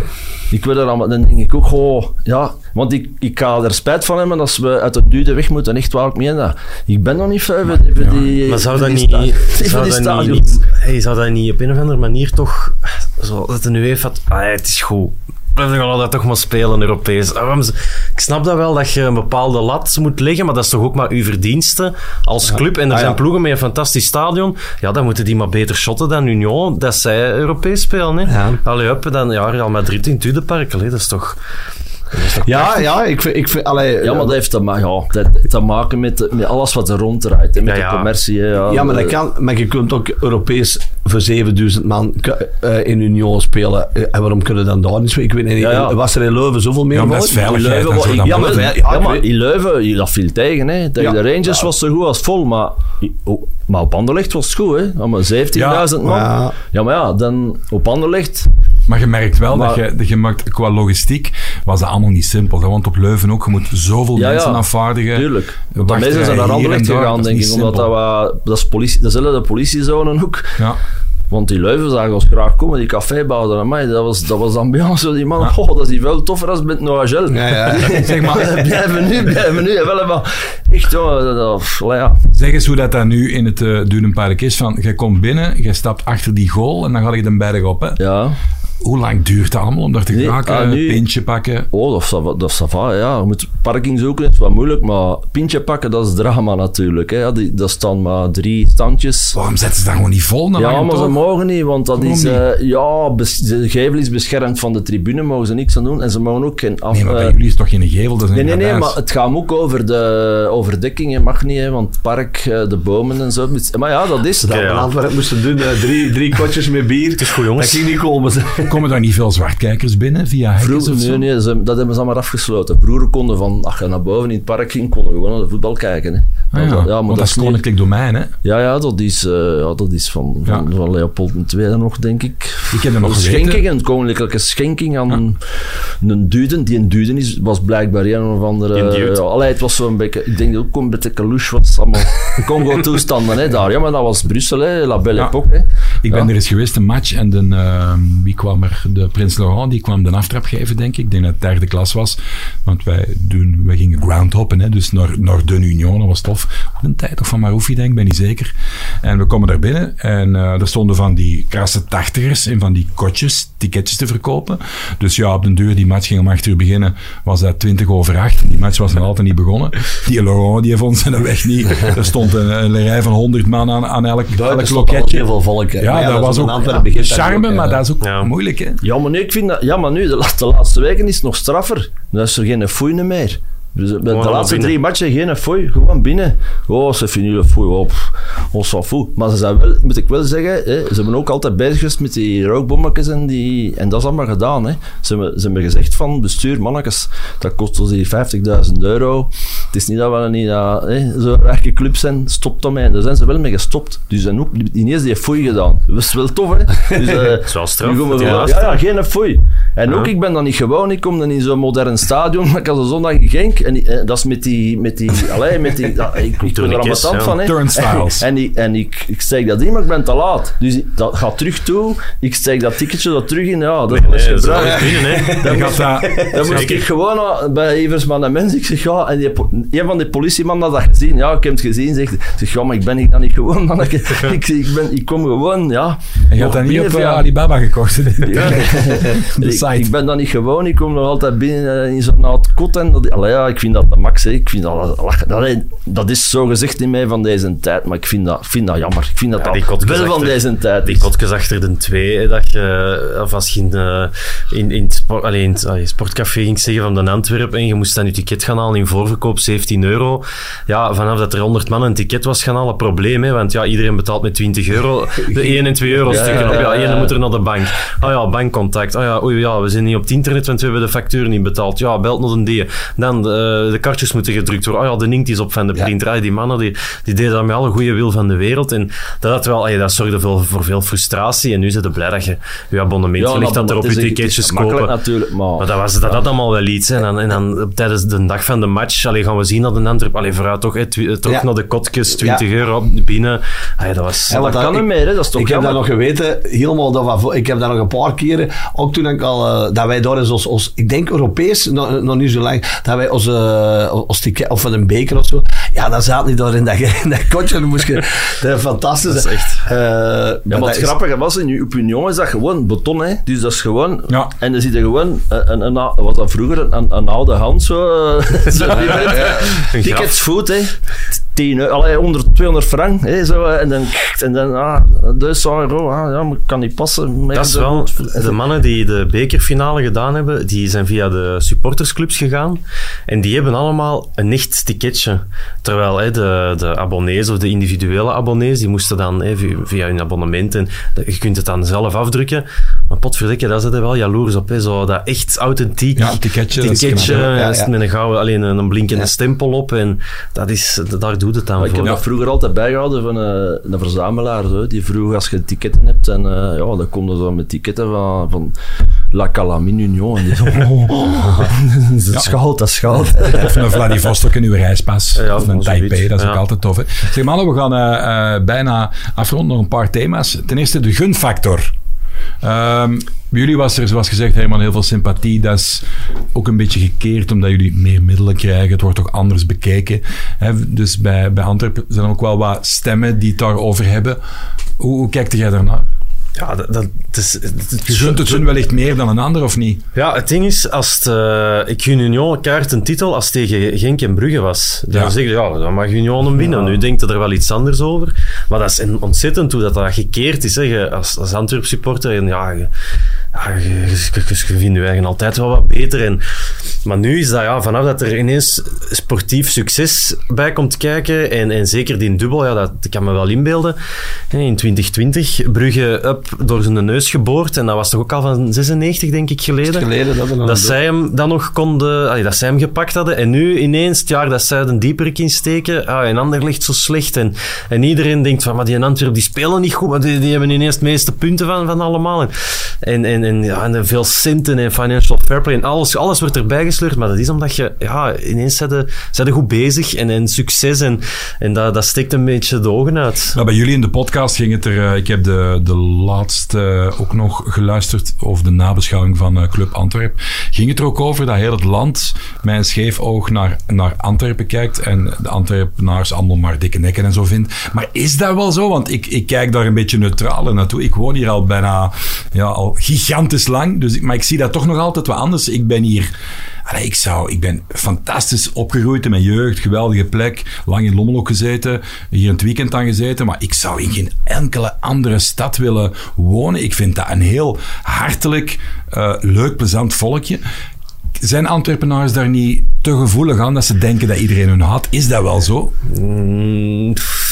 S4: Ik wil er aan, dan denk ik ook, goh, ja, want ik, ik ga er spijt van hebben als we uit het duurde weg moeten, echt waar, ik meen dat. Ik ben nog niet ver voor voor die...
S3: Maar zou
S4: voor
S3: dat
S4: die
S3: niet...
S4: sta- voor
S3: Zou
S4: die
S3: dat
S4: stadions.
S3: niet, hey, zou dat niet op een of andere manier toch... Zo, dat de UEFA... had, Ah, ja, het is goed. We gaan dat toch maar spelen, Europees. Ah, waarom ze- Ik snap dat wel, dat je een bepaalde lat moet leggen, maar dat is toch ook maar uw verdienste als club. En er
S2: Ah,
S3: zijn
S2: ja.
S3: ploegen met een fantastisch stadion. Ja, dan moeten die maar beter shotten dan Union, dat zij Europees spelen. Hè.
S2: Ja.
S3: Allee, hup, dan ja, Real Madrid in het Tudepark. Allee, dat is toch...
S2: Ja, ja, ik vind... Ik vind allee,
S4: Ja, maar dat heeft te, ma- ja, dat heeft te maken met, de- met alles wat er ronddraait, hè, met
S3: Ja, ja.
S4: de commercie. hè, Ja,
S2: ja, maar dat kan. Maar je kunt ook Europees voor 7000 man k- eh, in Union spelen. Eh, En waarom kunnen we dan daar niet spelen? Ik weet niet. eh,
S4: Ja, ja.
S2: Was er in Leuven zoveel meer
S1: Ja, maar dat
S2: volk?
S1: is veiligheid
S2: In
S1: en
S2: Leuven,
S1: zo,
S2: wa-
S1: dan
S2: ja,
S1: moet
S2: maar,
S1: het.
S2: ja,
S4: Ja,
S2: ik
S4: maar
S2: weet-
S4: in Leuven, dat viel tegen. Hè. Tegen
S2: Ja.
S4: de Rangers was zo goed als vol, maar, oh, maar op Anderlecht was het goed. Hè. Ja, maar 17.000 man.
S2: Ja.
S4: Ja. maar ja, dan op Anderlecht...
S1: Maar je merkt wel
S4: Maar-
S1: dat je, dat je maakt, qua logistiek was dat allemaal niet simpel. hè, Want op Leuven ook, je moet zoveel
S4: Ja,
S1: mensen
S4: ja,
S1: afvaardigen.
S4: Tuurlijk. Want de
S1: Wacht,
S4: mensen zijn
S1: eh,
S4: naar
S1: hier en
S4: Anderlecht
S1: daar,
S4: gegaan,
S1: dat is
S4: denk
S1: niet
S4: ik. Omdat dat,
S1: simpel.
S4: wa- dat is politie, dezelfde politiezone ook.
S1: Ja.
S4: Want die Leuven zagen ons graag komen, die cafébouwden aan mij. Dat was, dat was de ambiance. Die man, oh, dat is hier wel toffer als met Noagel.
S2: Ja, ja.
S1: Zeg, maar,
S4: blijven nu, blijven nu. En wel, maar echt, ja, dat, dat- pff, ja.
S1: zeg eens hoe dat daar nu in het eh Dunenpark is. Van, jij komt binnen, jij stapt achter die goal en dan ga ik de berg op. Hè.
S4: ja.
S1: Hoe lang duurt dat allemaal om daar te
S4: Nee,
S1: geraken?
S4: ah, nu-
S1: Een pintje pakken?
S4: Oh, dat is ça va- dat is ça va, ja. Je moet parking zoeken, dat is wat moeilijk. Maar pintje pakken, dat is drama natuurlijk. Hè. Ja, die, dat staan maar drie standjes.
S1: Waarom zetten ze daar gewoon niet vol? Dan
S4: Ja,
S1: hangen
S4: maar ze
S1: toch-
S4: mogen niet, want dat
S1: Waarom
S4: is... eh, ja, bes- de gevel is beschermd van de tribune, mogen ze niks aan doen. En ze mogen ook geen... Af,
S1: Nee, maar bij
S4: eh,
S1: jullie is toch geen gevel? Dat is een
S4: nee, nee, nee,
S1: radijs.
S4: maar het gaat ook over de overdekking. hè. mag niet, hè, want het park, eh, de bomen en zo. Maar ja, dat is...
S2: Dat
S3: Ja, ja.
S2: we in Antwerpen moesten doen. eh, drie, drie kotjes met bier. Het
S3: is goed, jongens.
S2: Dat ging niet komen.
S1: Komen daar niet veel zwartkijkers binnen via hekjes
S4: Vroeger,
S1: of zo?
S4: nee, nee, ze- dat hebben ze allemaal afgesloten. Vroeger konden van, als je naar boven in het park ging, konden we gewoon naar de voetbal kijken. Hè.
S1: Ah, ja.
S4: Dat- maar
S1: Want dat,
S4: dat
S1: is
S4: niet-
S1: koninklijk domein, hè?
S4: Ja, ja, dat is, eh, ja, dat is van,
S1: Ja.
S4: van, van Leopold II nog, denk ik.
S1: Ik heb er nog
S4: een
S1: gezeten.
S4: schenking, een koninklijke schenking aan een duden. Die een duden is, was blijkbaar een of
S3: Die
S4: andere...
S3: dude.
S4: Ja, allee, het was zo'n beetje... Ik denk dat ook een beetje kalouche was. Allemaal Congo-toestanden, hè, daar. Ja, maar dat was Brussel, hè. La Belle
S1: Ja.
S4: Époque, hè.
S1: Ik ben
S4: Ja.
S1: er eens geweest, een match, en de, eh, wie kwam er? De Prins Laurent, die kwam de aftrap geven, denk ik. Ik denk dat het derde klas was, want wij, doen, wij gingen groundhoppen, hè, dus naar, naar de Union, dat was tof. Op een tijd, of van Maroufi, denk ik, ben niet zeker. En we komen daar binnen, en eh, er stonden van die krasse tachtigers in van die kotjes ticketjes te verkopen. Dus ja, op den duur, die match ging om acht uur beginnen, was dat 20 over acht. Die match was nog altijd niet begonnen. Die Laurent, die vond zijn weg niet. Er stond een, een rij van 100 man aan, aan elk, elk loketje.
S2: Heel veel volk. hè.
S1: Ja,
S2: Maar
S1: dat was
S2: in
S1: ook
S2: Antwerpen begint dat
S1: charme,
S2: ook, eh,
S1: maar dat is ook
S3: Ja.
S1: moeilijk, hè?
S4: Ja, maar nu, ik vind dat... Ja, maar nu, de, la- de laatste weken is het nog straffer. Nu is er geen foeine meer. Dus de, de
S3: Gewoon
S4: laatste
S3: binnen.
S4: drie matchen geen foei, gewoon binnen. Oh, ze vinden jullie foei, oh, pff, ons van foei. Maar ze zijn wel, moet ik wel zeggen, hè, ze hebben ook altijd bezig geweest met die rookbommetjes en die... En dat is allemaal gedaan, hè. Ze hebben, ze hebben gezegd van, bestuur, mannetjes, dat kost ons hier 50.000 euro. Het is niet dat we niet dat, hè, zo'n rijke club zijn, stop daarmee. Daar zijn ze wel mee gestopt. Dus ze hebben ook ineens die foei gedaan. Dat is wel tof, hè. Dus, eh,
S3: is wel straf,
S4: nu gaan we
S3: dat die
S4: wel-
S3: laatste
S4: ja, ja, geen foei. En ook, ik ben dan niet gewoon. Ik kom dan in zo'n modern stadion, maar ik had een zondag in Genk. En die- eh, dat is met die... Met die, allee, met die ja, ik, ik ben er allemaal
S3: Tourniquets,
S4: tand
S3: ja.
S4: van. hè.
S1: Turnstiles.
S4: En, die- en ik, ik steek dat in, maar ik ben te laat. Dus dat gaat terug toe. Ik steek dat ticketje dat terug in. Ja, dat is
S3: Nee, dat zou
S4: gebruikt.
S3: niet kunnen, hè.
S1: Dan gaat dat...
S4: Dan moest
S3: Zeker.
S4: ik gewoon al bij Eversman en mensen. Ik zeg, ja, en die, po- een van die politiemannen had dat gezien. Ja, ik heb het gezien. Zegt, ik zeg, ja, maar ik ben hier dan niet gewoon, man. Ik, ik, ik ben, ik kom gewoon, ja.
S1: En je
S4: Nog
S1: had dat niet op
S4: binnen
S1: eh,
S4: via-
S1: Alibaba gekocht.
S4: Ja.
S1: De
S4: ik, ik
S1: site.
S4: ben dan niet gewoon, ik kom nog altijd binnen eh, in zo'n oud kot. En dat, allee, ja, ik vind dat de max. hè. Ik vind dat, lachen. Allee, dat is zo gezegd in mij van deze tijd, maar ik vind dat, ik vind dat jammer. Ik vind dat,
S3: Ja, die
S4: dat
S3: kotjes
S4: wel van
S3: achter-
S4: deze tijd
S3: eh, Die
S4: is.
S3: kotjes achter de twee, hè, dat je, of als je in, de- in, in, het sport, allee, in het allee, sportcafé ging zeggen van de Antwerpen en je moest dan je ticket gaan halen in voorverkoop, 17 euro. Ja, vanaf dat er 100 man een ticket was gaan halen, probleem, hè, want ja, iedereen betaalt met 20 euro. De 1 en 2 euro
S4: Ja,
S3: stukken op,
S4: ja,
S3: ja,
S4: ja.
S3: één moet er naar de bank. Ah ja, bankcontact. Ah ja, oei, ja, we zijn niet op het internet, want we hebben de factuur niet betaald. Ja, belt nog een die. Dan, eh, de, de kaartjes moeten gedrukt worden. Ah ja, de inkt is op van de printer. Ah, die mannen, die, die deden dat met alle goede wil van de wereld. En dat, had wel, allee, dat zorgde veel, voor veel frustratie. En nu zijn ze blij dat je je abonnement ligt, dat er op je
S4: het is-
S3: ticketjes
S4: het is makkelijk
S3: kopen.
S4: natuurlijk, maar...
S3: Maar dat, was, dat had allemaal wel iets. hè. En dan, en dan op- tijdens de dag van de match allee, gaan we zien dat een Antwerp... Allee, vooruit toch, hè, twi- eh, toch
S2: Ja.
S3: naar de kotjes, 20 euro binnen. Allee, dat was...
S2: Ja,
S4: dat
S2: want
S4: kan
S2: ik-
S4: niet meer, hè. dat is toch
S2: ik heb
S4: jammer.
S2: dat nog geweten, helemaal dat van, vo- ik heb dat nog een paar keren, ook toen ik al, eh, dat wij daar eens als, als ik denk Europees, nog, nog niet zo lang, dat wij als, eh, als ticket, of van een beker of zo, ja, dan zat niet daar in dat, in dat kotje, dan moest je, dat is fantastisch.
S3: Dat is echt-
S2: Eh,
S4: Ja,
S2: maar
S4: maar
S2: dat
S4: het
S2: is-
S4: grappige was, in uw opinion is dat gewoon beton, hè. Dus dat is gewoon...
S1: Ja.
S4: En dan zit er gewoon een, een, een, ou- wat dat vroeger, een- een, een oude hand zo... eh, zo die weet,
S3: Een
S4: Tickets goed, hè. 10 euro, e- allee, 100, 200 frank, hè, zo. eh, En dan... En dan, ah, 1000 euro, ah, ja, maar kan niet passen.
S3: Dat is wel, de mannen die de bekerfinale gedaan hebben, die zijn via de supportersclubs gegaan. En die hebben allemaal een echt ticketje. Terwijl hè, de, de abonnees of de individuele abonnees, die moesten dan hè, via, via hun abonnement. En de- je kunt het dan zelf afdrukken. Maar potverdikke, daar zitten wel jaloers op. Hè, zo, dat echt authentiek
S1: Ja, een ticketje, dat is
S3: ticketje,
S1: knap,
S2: ja.
S3: ja,
S2: Ja,
S3: is
S2: ja.
S3: Met een gouden, alleen een, een blinkende stempel op. En dat is, daar doet het dan
S4: Maar ik
S3: voor.
S4: heb dat vroeger altijd bijgehouden van eh, een verzamelaar. Zo, die vroeg als je ticketten hebt. En eh, ja, dan komt er zo met ticketten van, van La Calamine Union. En die zo, dat is goud, dat is goud.
S1: Of een Vladivostok in uw reispas.
S3: Ja,
S1: of een
S3: zoiets.
S1: Taipei, dat is ook
S3: Ja.
S1: altijd tof. Hè? Zeg mannen, we gaan eh, eh, bijna afronden nog een paar thema's. Ten eerste de gunfactor. Ehm, bij jullie was er, zoals gezegd, helemaal heel veel sympathie. Dat is ook een beetje gekeerd, omdat jullie meer middelen krijgen. Het wordt toch anders bekeken. Hè? Dus bij, bij Antwerpen zijn er ook wel wat stemmen die het daarover hebben. Hoe, hoe kijkt jij daarnaar?
S3: Ja, dat, dat, het is, het, het-
S1: Je gunt het hun wellicht meer dan een ander, of niet?
S3: Ja, het ding is, als het, eh, ik gun Union kaart een titel als tegen Genk en Brugge was. Dan
S1: Ja.
S3: zeg je, ja, dan mag Union hem winnen. Nu denkt er wel iets anders over. Maar dat is een- ontzettend hoe dat, dat gekeerd is. Hè. Je- Als, als Antwerp supporter, en ja, je, ja, je, je- je- je vindt je eigen altijd wel wat beter. En, maar nu is dat, ja, vanaf dat er ineens sportief succes bij komt kijken, en, en zeker die dubbel, ja, dat kan me wel inbeelden. Hè, In 2020, Brugge up door zijn neus geboord, en dat was toch ook al van 96, denk ik, geleden.
S2: geleden dat we nog
S3: Dat
S2: een-
S3: zij hem dan nog konden, allee, dat zij hem gepakt hadden. En nu ineens, het jaar dat zij een dieperik insteken, ah, en ander ligt zo slecht. En, en iedereen denkt van, maar die in Antwerpen die spelen niet goed, maar die, die hebben ineens de meeste punten van, van allemaal. En, en, en, en, ja, en dan veel centen en financial fair play en alles, alles wordt erbij gesleurd. Maar dat is omdat je, ja, ineens zijn ze- zijn ze goed bezig en, en succes. En, en dat, dat steekt een beetje de ogen uit.
S1: Nou, bij jullie in de podcast ging het er. eh, ik heb de, de laatste eh, ook nog geluisterd over de nabeschouwing van eh, Club Antwerp. Ging het er ook over dat heel het land met een scheef oog naar, naar Antwerpen kijkt en de Antwerpenaars allemaal maar dikke nekken en zo vindt. Maar is dat wel zo? Want ik, ik kijk daar een beetje neutraal naartoe. Ik woon hier al bijna ja, al gigantisch lang. Dus ik, maar ik zie dat toch nog altijd wat anders. Ik ben hier. Allee, ik, zou, ik ben fantastisch opgegroeid in mijn jeugd, geweldige plek, lang in Lommel ook gezeten, hier het weekend aan gezeten, maar ik zou in geen enkele andere stad willen wonen. Ik vind dat een heel hartelijk, eh, leuk, plezant volkje. Zijn Antwerpenaars daar niet te gevoelig aan dat ze denken dat iedereen hun had? Is dat wel zo?
S3: Mm, pff.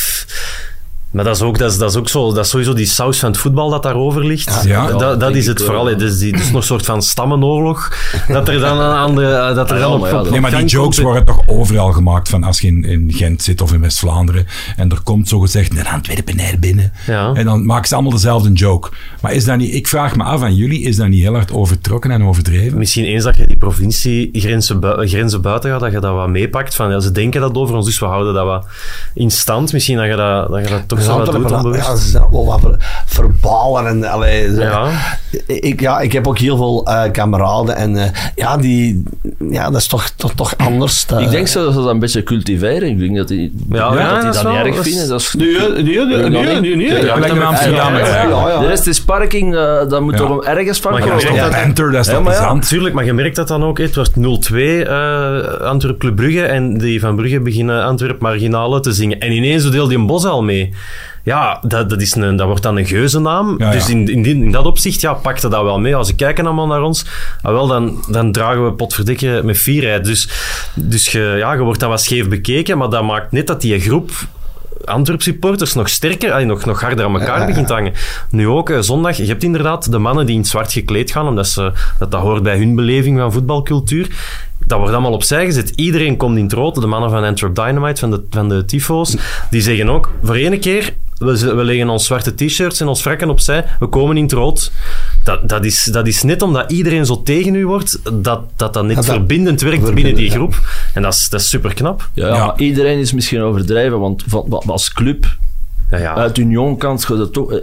S3: Maar dat is ook, dat is, dat is ook zo, dat is sowieso die saus van het voetbal dat daarover ligt.
S1: Ja.
S3: Dat- dat,
S4: denk
S3: is
S4: ik
S3: het
S4: wel,
S3: vooral.
S4: ja.
S3: hè. Dus die, dus nog een soort van stammenoorlog. Dat er dan aan de, eh, dat er dan
S4: Ah, ja,
S3: op,
S4: maar ja,
S3: op-
S4: dat-
S3: op
S1: Nee, maar die
S3: gang
S1: jokes
S3: komt.
S1: worden toch overal gemaakt van als je in, in Gent zit of in West-Vlaanderen en er komt zogezegd een Antwerpenaar binnen.
S3: Ja.
S1: En dan maken ze allemaal dezelfde joke. Maar is dat niet, ik vraag me af aan jullie, is dat niet heel hard overtrokken en overdreven?
S3: Misschien eens dat je die provinciegrenzen bui- grenzen buiten gaat, dat je dat wat meepakt. Van, ja, ze denken dat over ons, dus we houden dat wat in stand. Misschien dat je dat, dat, je dat toch zo wat doet onbewust.
S2: Ja, ze zijn wel wat ver- verbalen en allee, ze-
S3: Ja.
S2: Ik, ja, ik heb ook heel veel eh, kameraden en eh, ja, die, ja, dat is toch, toch, toch anders. eh. dat-
S4: Ik denk zo dat ze dat een beetje cultiveren. Ik denk dat die,
S3: Ja,
S4: dat,
S3: ja,
S4: die
S3: dat is
S4: dat
S3: wel-
S4: niet erg
S3: dat is-
S4: vinden. Dat is,
S5: Nu, hè, nu, hè, nu, hè, nu, nu, hè.
S1: Ja, lijkt me Amsterdam,
S4: Ja,
S1: ja.
S2: ja, ja.
S4: De rest is parking, eh, dat moet
S1: Ja.
S4: toch ergens van
S3: Maar je
S4: komen.
S3: merkt
S1: Dat
S3: dat-
S1: is banter, dat is
S4: Ja,
S1: toch
S4: maar ja.
S1: plezant?
S3: Natuurlijk, maar je merkt dat dan ook. hè. Het was 0-2 eh Antwerp Club Brugge en die van Brugge beginnen Antwerp Marginale te zingen. En ineens deelde die een bos al mee. Ja, dat, dat, is een, dat wordt dan een geuzennaam.
S1: Ja, ja.
S3: dus In, in, die- in dat opzicht ja, pakte dat wel mee. Als ze kijken allemaal naar ons, ah, wel, dan, dan dragen we potverdikke met fierheid. Dus, dus je, ja, je wordt dan wat scheef bekeken, maar dat maakt net dat die groep Antwerp supporters nog sterker, allee, nog, nog harder aan elkaar begint te hangen. Nu ook eh, zondag, je hebt inderdaad de mannen die in het zwart gekleed gaan, omdat ze, dat, dat hoort bij hun beleving van voetbalcultuur. Dat wordt allemaal opzij gezet. Iedereen komt in het rood. De mannen van Antwerp Dynamite, van de, van de tyfo's, die zeggen ook, voor ene keer, we, z- we leggen ons zwarte t-shirts en ons frakken opzij, we komen in het rood. Dat, dat, is, dat is net omdat iedereen zo tegen u wordt, dat dat, dat net
S2: Dat dat-
S3: verbindend werkt binnen die groep. En dat is, dat is super knap.
S4: Ja,
S1: Ja.
S4: maar iedereen is misschien overdrijven, want van, wa- als club
S3: Ja, ja.
S4: uit Union kant gaat het toch... eh,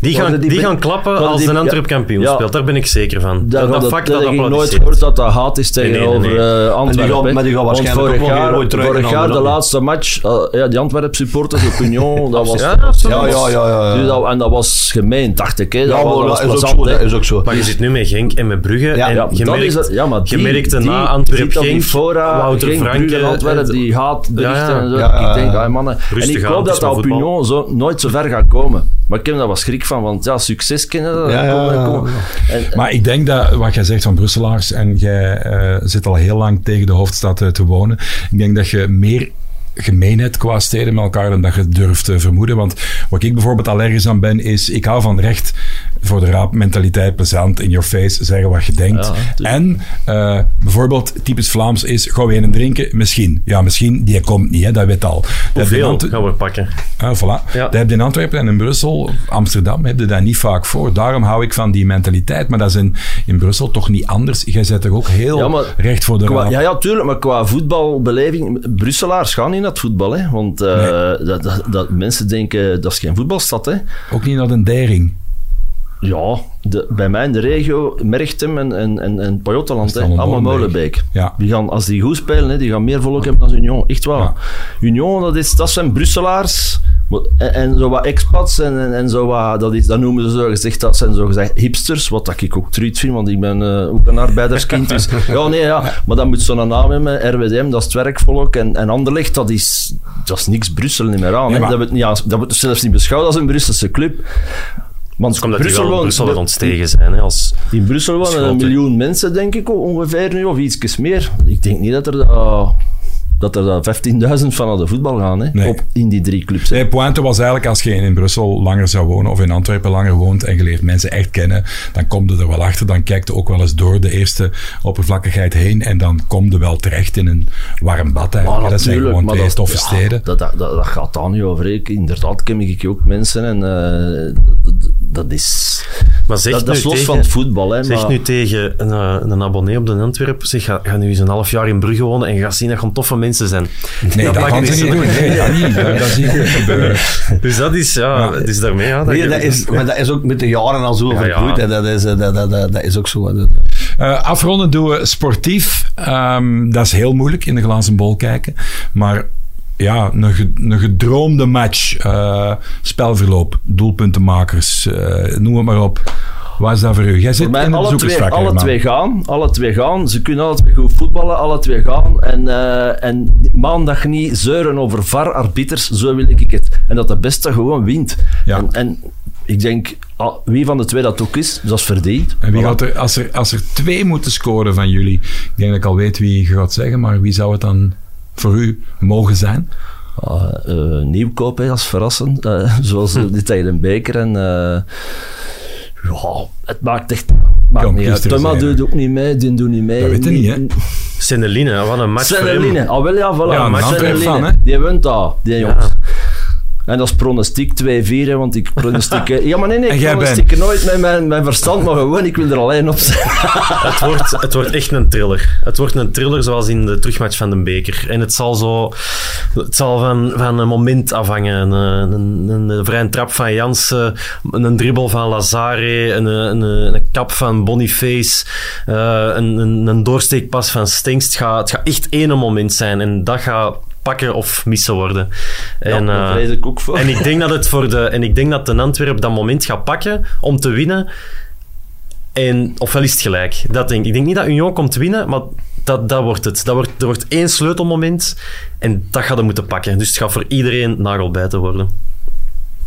S3: Die gaan,
S4: worden
S3: die gaan klappen
S4: worden
S3: als
S4: die-
S3: een Antwerp
S4: ja,
S3: kampioen
S4: ja,
S3: speelt. Daar ben ik zeker van.
S4: Dat,
S3: Dat, dat,
S4: dat,
S3: vak
S4: dat
S3: dat
S4: heb ik nooit
S3: applaudisseert.
S4: gehoord dat dat haat is
S3: nee,
S4: tegenover
S3: nee.
S4: eh, Antwerpen.
S2: Maar die gaan- maar die gaan
S4: Want
S2: waarschijnlijk
S4: vorig
S2: ook wel
S4: jaar,
S2: weer ooit terug
S4: vorig
S2: naar
S4: jaar de
S2: Anderlecht.
S4: laatste match, eh, ja, die Antwerp supporters op Union, dat was...
S3: Ja, absoluut.
S2: ja, ja, ja, ja, ja.
S4: Dus dat- en dat was gemeen, dacht ik. Hè. Dat,
S2: Ja,
S4: was-
S2: maar
S4: dat was
S2: dat is ook
S4: plezant,
S2: zo.
S4: hè.
S2: Dat is ook zo.
S3: Maar je zit nu met Genk en met Brugge.
S2: Ja,
S3: en
S4: dus- Ja,
S3: je
S4: dat
S3: merkt,
S4: is het- ja, maar
S3: je
S4: die-
S3: merkte
S4: die
S3: na
S4: zit
S3: Antwerp
S4: op die
S3: Genk,
S4: fora,
S3: Wouter
S4: Genk,
S3: Franke,
S4: Brugge, Antwerpen,
S3: eh,
S4: die haatberichten
S3: Ja, ja.
S4: en zo.
S2: Ja, ja,
S4: ik denk,
S2: ja.
S4: ah, mannen. En
S3: Rustig
S4: ik
S3: aan,
S4: hoop
S3: het
S4: dat
S3: is maar
S4: dat op
S3: voetbal.
S4: Union zo, nooit zo ver gaat komen. Maar ik heb daar wat schrik van, want ja, succes kennen dat.
S2: Ja, ja,
S4: komen,
S2: ja,
S4: komen. En,
S1: Maar ik denk dat wat jij zegt van Brusselaars, en jij eh, zit al heel lang tegen de hoofdstad eh, te wonen, ik denk dat je meer gemeenheid qua steden met elkaar dan dat je durft te vermoeden. Want wat ik bijvoorbeeld allergisch aan ben, is ik hou van recht voor de raap mentaliteit, plezant, in your face, zeggen wat je denkt. en eh, bijvoorbeeld, typisch Vlaams is, gaan we een drinken? Misschien. Ja, misschien, die komt niet, hè, dat weet al. Dat heb je in
S3: hoeveel
S1: Ant-
S3: gaan we pakken?
S1: Ah, voilà.
S3: Ja.
S1: Dat heb je in Antwerpen en in Brussel, Amsterdam, heb je dat niet vaak voor. Daarom hou ik van die mentaliteit. Maar dat is in, in Brussel toch niet anders. Jij zet er ook heel
S4: Ja, maar-
S1: recht voor de
S4: Qua-
S1: raap.
S4: ja, ja, tuurlijk, maar qua voetbalbeleving, Brusselaars gaan niet naar het voetbal. Hè, want eh, dat, dat, dat, mensen denken dat is geen voetbalstad. Hè.
S1: Ook niet naar de dering.
S4: Ja, de, bij mij in de regio, Merchtem en, en, en, en Pajottenland,
S1: Dat is
S4: hè,
S1: allemaal
S4: allemaal
S1: Molenbeek.
S4: Molenbeek.
S1: Ja.
S4: Die gaan, als die goed spelen, hè, die gaan meer volk hebben dan Union. Echt waar.
S1: Ja.
S4: Union, dat, is, dat zijn Brusselaars. Maar- En, en zo wat expats en, en, en zo wat, dat, is, dat noemen ze zo gezegd, dat zijn zo gezegd hipsters, wat dat ik ook truut vind, want ik ben eh, ook een arbeiderskind. Dus, ja, nee, ja, maar dan moet zo'n naam hebben, RWDM, dat is het werkvolk, en, en Anderlecht, dat is, dat is niks Brussel niet meer aan.
S1: Nee,
S4: hè.
S1: maar-
S4: dat, wordt niet aan- dat wordt zelfs niet beschouwd als een Brusselse club. Want
S3: Omdat die wel
S4: woont-
S3: in Brussel wel ontstegen zijn. Hè, als,
S4: in Brussel wonen een
S3: Schoten.
S4: miljoen mensen, denk ik, ongeveer nu, of iets meer. Ik denk niet dat er, eh, dat er daar 15.000 van naar de voetbal gaan, hè,
S1: Nee.
S4: op, in die drie clubs. hè.
S1: De pointe was eigenlijk, als je in Brussel langer zou wonen of in Antwerpen langer woont en je leert mensen echt kennen, dan kom je er wel achter. Dan kijkt je ook wel eens door de eerste oppervlakkigheid heen en dan kom je wel terecht in een warm bad.
S4: Maar
S1: Eigenlijk. dat zijn
S4: natuurlijk,
S1: gewoon
S4: Ah, maar
S1: twee
S4: dat-
S1: toffe
S4: ja,
S1: steden.
S4: Dat, dat, dat, dat gaat daar niet over. hè. Ik- Inderdaad ken ik ook mensen en eh, dat, dat- dat is...
S3: maar zeg
S4: dat, dat
S3: nu
S4: is los
S3: tegen-
S4: van het voetbal, hè.
S3: Zeg
S4: maar,
S3: nu tegen een, eh, een abonnee op de Antwerp, zeg, ga, ga nu eens een half jaar in Brugge wonen en ga zien dat gaan toffe mensen zijn.
S1: Nee, dat,
S3: pak
S1: gaan
S3: ik
S1: ze
S3: niet.
S1: niet doen. Nee, dat niet. Dat, dat zie ik niet gebeuren.
S3: Dus dat is, ja,
S1: Ja.
S3: het is daarmee. Ja,
S2: Nee,
S3: je-
S2: dat is, maar dat is ook met de jaren al zo vergroeid.
S3: ja.
S2: hè. Dat, is, eh, dat, dat, dat, dat is ook zo. hè.
S1: Eh, afronden doen we sportief. Ehm, dat is heel moeilijk in de glazen bol kijken. Maar ja, een, ge- een gedroomde match. eh, spelverloop, doelpuntenmakers, eh, noem het maar op. Waar is dat voor u? Jij zit
S4: Voor mij
S1: in het
S4: alle, twee,
S1: bezoekersvak,
S4: alle
S1: Herman.
S4: twee gaan. Alle twee gaan. Ze kunnen alle twee goed voetballen, alle twee gaan. En, eh, en maandag niet zeuren over VAR-arbiters, zo wil ik het. En dat de beste gewoon wint.
S1: Ja.
S4: En, en ik denk, ah, wie van de twee dat ook is, dat is verdiend.
S1: En wie
S4: Voilà.
S1: gaat er, als, er, als er twee moeten scoren van jullie, ik denk dat ik al weet wie je gaat zeggen, maar wie zou het dan voor u mogen zijn?
S4: ah, eh, nieuwkoop, hè, dat is verrassend. Eh, zoals die tegen een beker. En, eh, ja, het maakt echt... Maakt
S1: Kan
S4: niet uit.
S1: gisteren
S4: Thomas
S1: zijn,
S4: doet ook niet mee, die doet niet mee.
S1: Dat weten we niet, hè.
S3: Sendeline, wat een match voor hem.
S4: Senneline, ah wel ja, voilà.
S1: Ja, een
S4: maar
S1: handwerk
S4: Senneline,
S1: van, hè.
S4: die wint dat, die jongens. En dat is pronostiek 2-4, hè, want ik pronostiek... hè. Ja, maar nee, nee,
S1: En
S4: ik
S1: jij
S4: pronostiek nooit met mijn, mijn verstand, maar gewoon, ik wil er alleen op zijn.
S3: Het wordt, het wordt echt een thriller. Het wordt een thriller zoals in de terugmatch van de beker. En het zal, zo, het zal van, van een moment afhangen. Een, een, een, een vrije trap van Jansen, een dribbel van Lazare, een, een, een kap van Boniface, eh, een, een, een doorsteekpas van Stingst. Het gaat, het gaat echt één moment zijn en dat gaat pakken of missen worden. En,
S4: ja,
S3: eh,
S4: daar vrees ik ook voor.
S3: en ik denk dat het voor de. En ik denk dat de Antwerp dat moment gaat pakken om te winnen. En ofwel is het gelijk. Dat denk ik. Ik denk niet dat Union komt winnen, maar dat, dat wordt het. Dat wordt, er wordt één sleutelmoment en dat gaat er moeten pakken. Dus het gaat voor iedereen nagelbijten worden.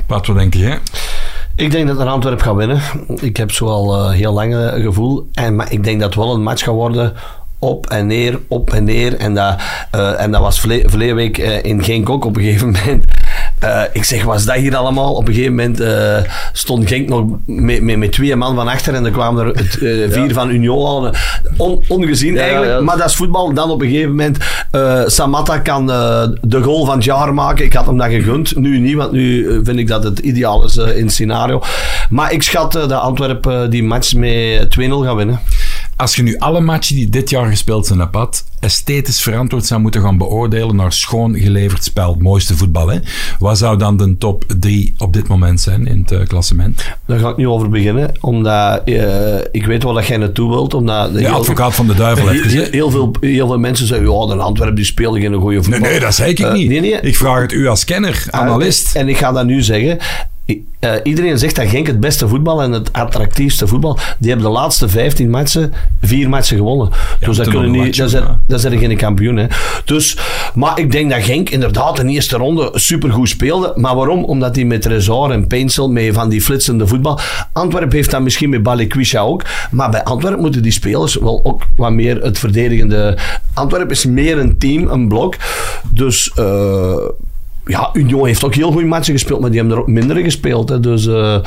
S1: Wat wat denk jij?
S2: Ik denk dat een Antwerp gaat winnen. Ik heb zoal eh heel lang eh, gevoel. En, maar ik denk dat het wel een match gaat worden. Op en neer, op en neer. En dat, eh, en dat was verle- verleden week eh, in Genk ook op een gegeven moment. Eh, ik zeg, was dat hier allemaal? Op een gegeven moment eh, stond Genk nog met, met, met twee man van achter en er kwamen er eh, vier van Union aan. On- ongezien
S4: Ja,
S2: eigenlijk,
S4: ja.
S2: maar dat is voetbal. Dan op een gegeven moment, eh Samatta kan eh, de goal van het jaar maken. Ik had hem dat gegund. Nu niet, want nu eh, vind ik dat het ideaal is eh, in het scenario. Maar ik schat eh, dat Antwerpen eh, die match met 2-0 gaat winnen.
S1: Als je nu alle matchen die dit jaar gespeeld zijn op pad esthetisch verantwoord zou moeten gaan beoordelen naar schoon geleverd spel, het mooiste voetbal, hè? wat zou dan de top 3 op dit moment zijn in het eh, klassement?
S2: Daar ga ik niet over beginnen, omdat eh, ik weet wel dat jij naartoe wilt. Omdat
S1: De advocaat van de duivel heeft
S2: Heel,
S1: gezegd.
S2: heel veel, heel veel mensen zeggen, ja, de Antwerpen die spelen geen goede voetbal.
S1: Nee, nee, Ah, eh, dat zei ik
S2: Eh,
S1: niet.
S2: nee, nee.
S1: Ik vraag het u als kenner, analist.
S2: En ik ga dat nu zeggen. I- eh, iedereen zegt dat Genk het beste voetbal en het attractiefste voetbal. Die hebben de laatste 15 matchen vier matchen gewonnen. dus dat
S1: toen
S2: kunnen
S1: nog een
S2: niet,
S1: match,
S2: dat zijn,
S1: ja.
S2: dat zijn geen kampioen. Hè. Dus, maar ik denk dat Genk inderdaad in de eerste ronde supergoed speelde. Maar waarom? Omdat die met Resort en Pencil mee van die flitsende voetbal. Antwerp heeft dat misschien met Balikwisha ook. Maar bij Antwerp moeten die spelers wel ook wat meer het verdedigende. Antwerp is meer een team, een blok. Dus. eh, ja, Union heeft ook heel goede matchen gespeeld, maar die hebben er ook minder gespeeld. Hè. Dus eh,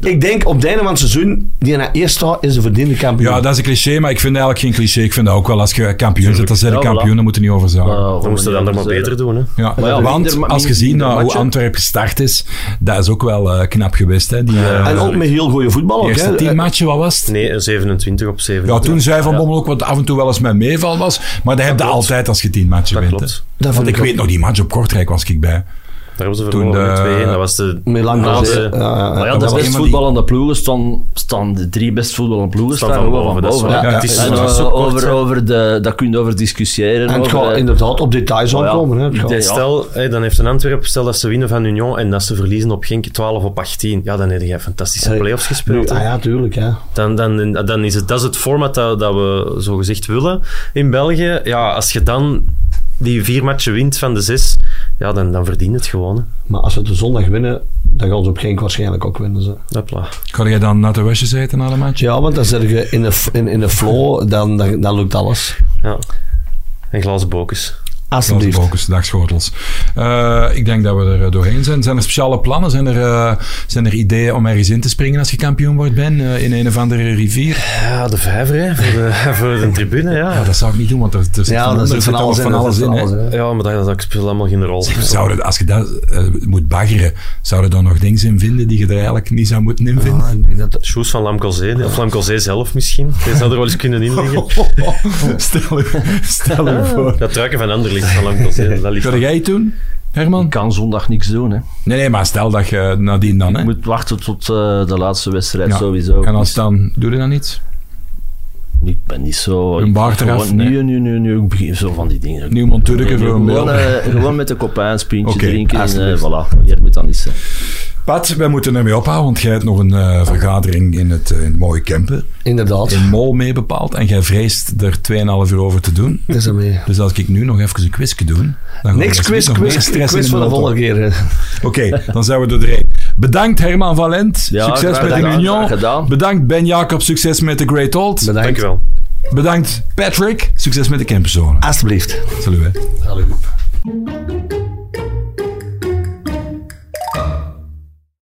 S2: ik denk op het einde van het seizoen, die na eerst staat, is de verdiende kampioen.
S1: Ja, dat is een cliché, maar ik vind eigenlijk geen cliché. Ik vind dat ook wel als je kampioen zit, dan zijn de
S4: Ja, voilà. eh,
S1: kampioenen, moeten niet over zagen.
S3: Dan moesten we Oh, dat
S2: dus,
S3: maar
S2: eh,
S3: beter doen. Hè.
S1: Ja,
S4: Maar ja,
S1: want
S4: minder ma-
S1: als je ziet
S4: minder
S1: nou, hoe
S4: matchen.
S1: Antwerp gestart is, dat is ook wel eh, knap geweest. Hè? Die eh,
S2: en ook met heel goede voetbal. Ook,
S1: eerste
S2: hè.
S4: eh,
S1: tien matchen, wat was het?
S3: Nee, een 27 op 7.
S1: Ja, toen zei Van Bommel ook wat af en toe wel eens mijn meeval was. Maar dat heb je altijd als je tien matchen
S3: Dat
S1: wint.
S3: klopt.
S1: hè.
S2: Dat
S1: Want
S2: vond
S1: ik
S2: ik
S1: weet nog, die match op Kortrijk was ik bij.
S3: Daar hebben ze
S1: Toen eh,
S3: verloren met
S1: de-
S3: 2 Dat was de
S2: Met lang
S3: laatste.
S2: bezig, ja, ja, ja.
S3: Maar ja,
S4: Ja,
S1: was
S4: de
S1: een van
S4: best
S1: die-
S4: voetballende ploegen staan, staan de drie best voetballende ploegen
S3: Staan
S4: staan,
S3: van
S4: gewoon
S3: boven,
S4: van
S3: dat is
S4: boven.
S3: waar.
S1: Ja,
S4: hè.
S1: het is-
S4: En,
S3: het was
S4: eh,
S3: zo kort,
S4: over,
S3: hè.
S4: over de, daar kun je over discussiëren.
S2: En het
S4: over,
S2: gaat
S4: eh,
S2: inderdaad op details
S4: Oh ja.
S2: aankomen. Hè. Het gaat-
S4: Ja.
S3: Stel, hé, dan heeft een Antwerp, stel dat ze winnen van Union en dat ze verliezen op Genk 12 op 18. Ja, dan heb je fantastische
S2: Hey.
S3: play-offs
S2: Nu,
S3: gespeeld. hè.
S2: ah ja, tuurlijk. Ja.
S3: Dan, dan, dan is het, dat is het format dat, dat we zo gezegd willen in België. Ja, als je dan die vier matchen wint van de zes, ja, dan, dan verdien je het gewoon. hè.
S2: Maar als we de zondag winnen, dan gaan ze op Genk waarschijnlijk ook winnen. Ze.
S3: Hopla.
S1: Kan jij dan naar de wasjes eten na de match?
S2: Ja, want dan zit je in de, f- in, in de flow, dan, dan, dan lukt alles.
S3: Ja. En glazen bokens.
S1: Zoals de
S2: Alsjeblieft.
S1: Focus, dagschotels. Eh, ik denk dat we er eh, doorheen zijn. Zijn er speciale plannen? Zijn er, eh, zijn er ideeën om ergens in te springen als je kampioen wordt, Ben? eh, in een of andere rivier?
S3: Ja, de vijver, hè, voor de, voor de tribune, ja.
S1: Ja, dat zou ik niet doen, want er, er zit
S2: Ja,
S1: van,
S2: dan
S1: er
S2: zit van alles in.
S1: van
S2: er
S1: alles
S2: zit
S1: in.
S2: van
S1: hè.
S2: alles in, hè.
S3: Ja, maar dat, dat speelt allemaal geen rol.
S1: Zouden, als je dat eh, moet baggeren, zouden dan nog dingen in vinden die je er eigenlijk niet zou moeten in vinden?
S2: Ah, ik denk dat-
S3: Shoes van Lamkelzee, of Lamkelzee zelf misschien. Die zou er wel eens kunnen
S1: Oh.
S3: inliggen.
S1: stel, u, stel u voor.
S3: Dat truiken van Anderlicht van Lamkelzee, dat ligt
S1: Kun jij het doen,
S4: Ik
S1: Herman?
S4: kan zondag niks doen. Hè.
S1: Nee, nee, maar stel dat je nadien dan... Hè?
S4: Ik moet wachten tot eh, de laatste wedstrijd
S1: Ja.
S4: sowieso.
S1: En als dan, doe je dan iets?
S4: Ik ben niet zo...
S1: Een
S4: ik-
S1: baard eraf,
S4: gewoon-
S1: nee.
S4: Nu, nu, nu, nu. Ik begin zo van die dingen.
S1: Nieuw Monturken
S4: Nee,
S1: voor een
S4: gewoon,
S1: beeld.
S4: eh, gewoon met de kopijn, pintje
S1: Oké,
S4: drinken en eh,
S1: alsjeblieft.
S4: voilà. Hier moet dan niet zijn.
S1: Pat, wij moeten ermee ophouden, want jij hebt nog een eh, vergadering in het, eh, in het mooie Kempen.
S2: Inderdaad.
S1: In Mol mee bepaald. En jij vreest er 2,5 uur over te doen.
S2: Dat is hem mee.
S1: Dus als ik nu nog even een quizje doe... Dan gaan
S2: Niks
S1: we
S2: quiz,
S1: nog meer
S2: quiz,
S1: stress
S2: quiz
S1: in
S2: voor de
S1: auto.
S2: volgende keer. hè.
S1: Oké, dan zijn we er doorheen. Bedankt Herman Valent.
S4: Ja,
S1: succes
S4: graag
S1: met de
S4: gedaan,
S1: Union.
S4: graag gedaan.
S1: Bedankt Ben Jacob. Succes met de Great Old.
S2: Bedankt.
S3: Dank je wel.
S1: Bedankt Patrick. Succes met de Kemperzone.
S2: Alsjeblieft.
S1: Salut hè.
S2: Hallo.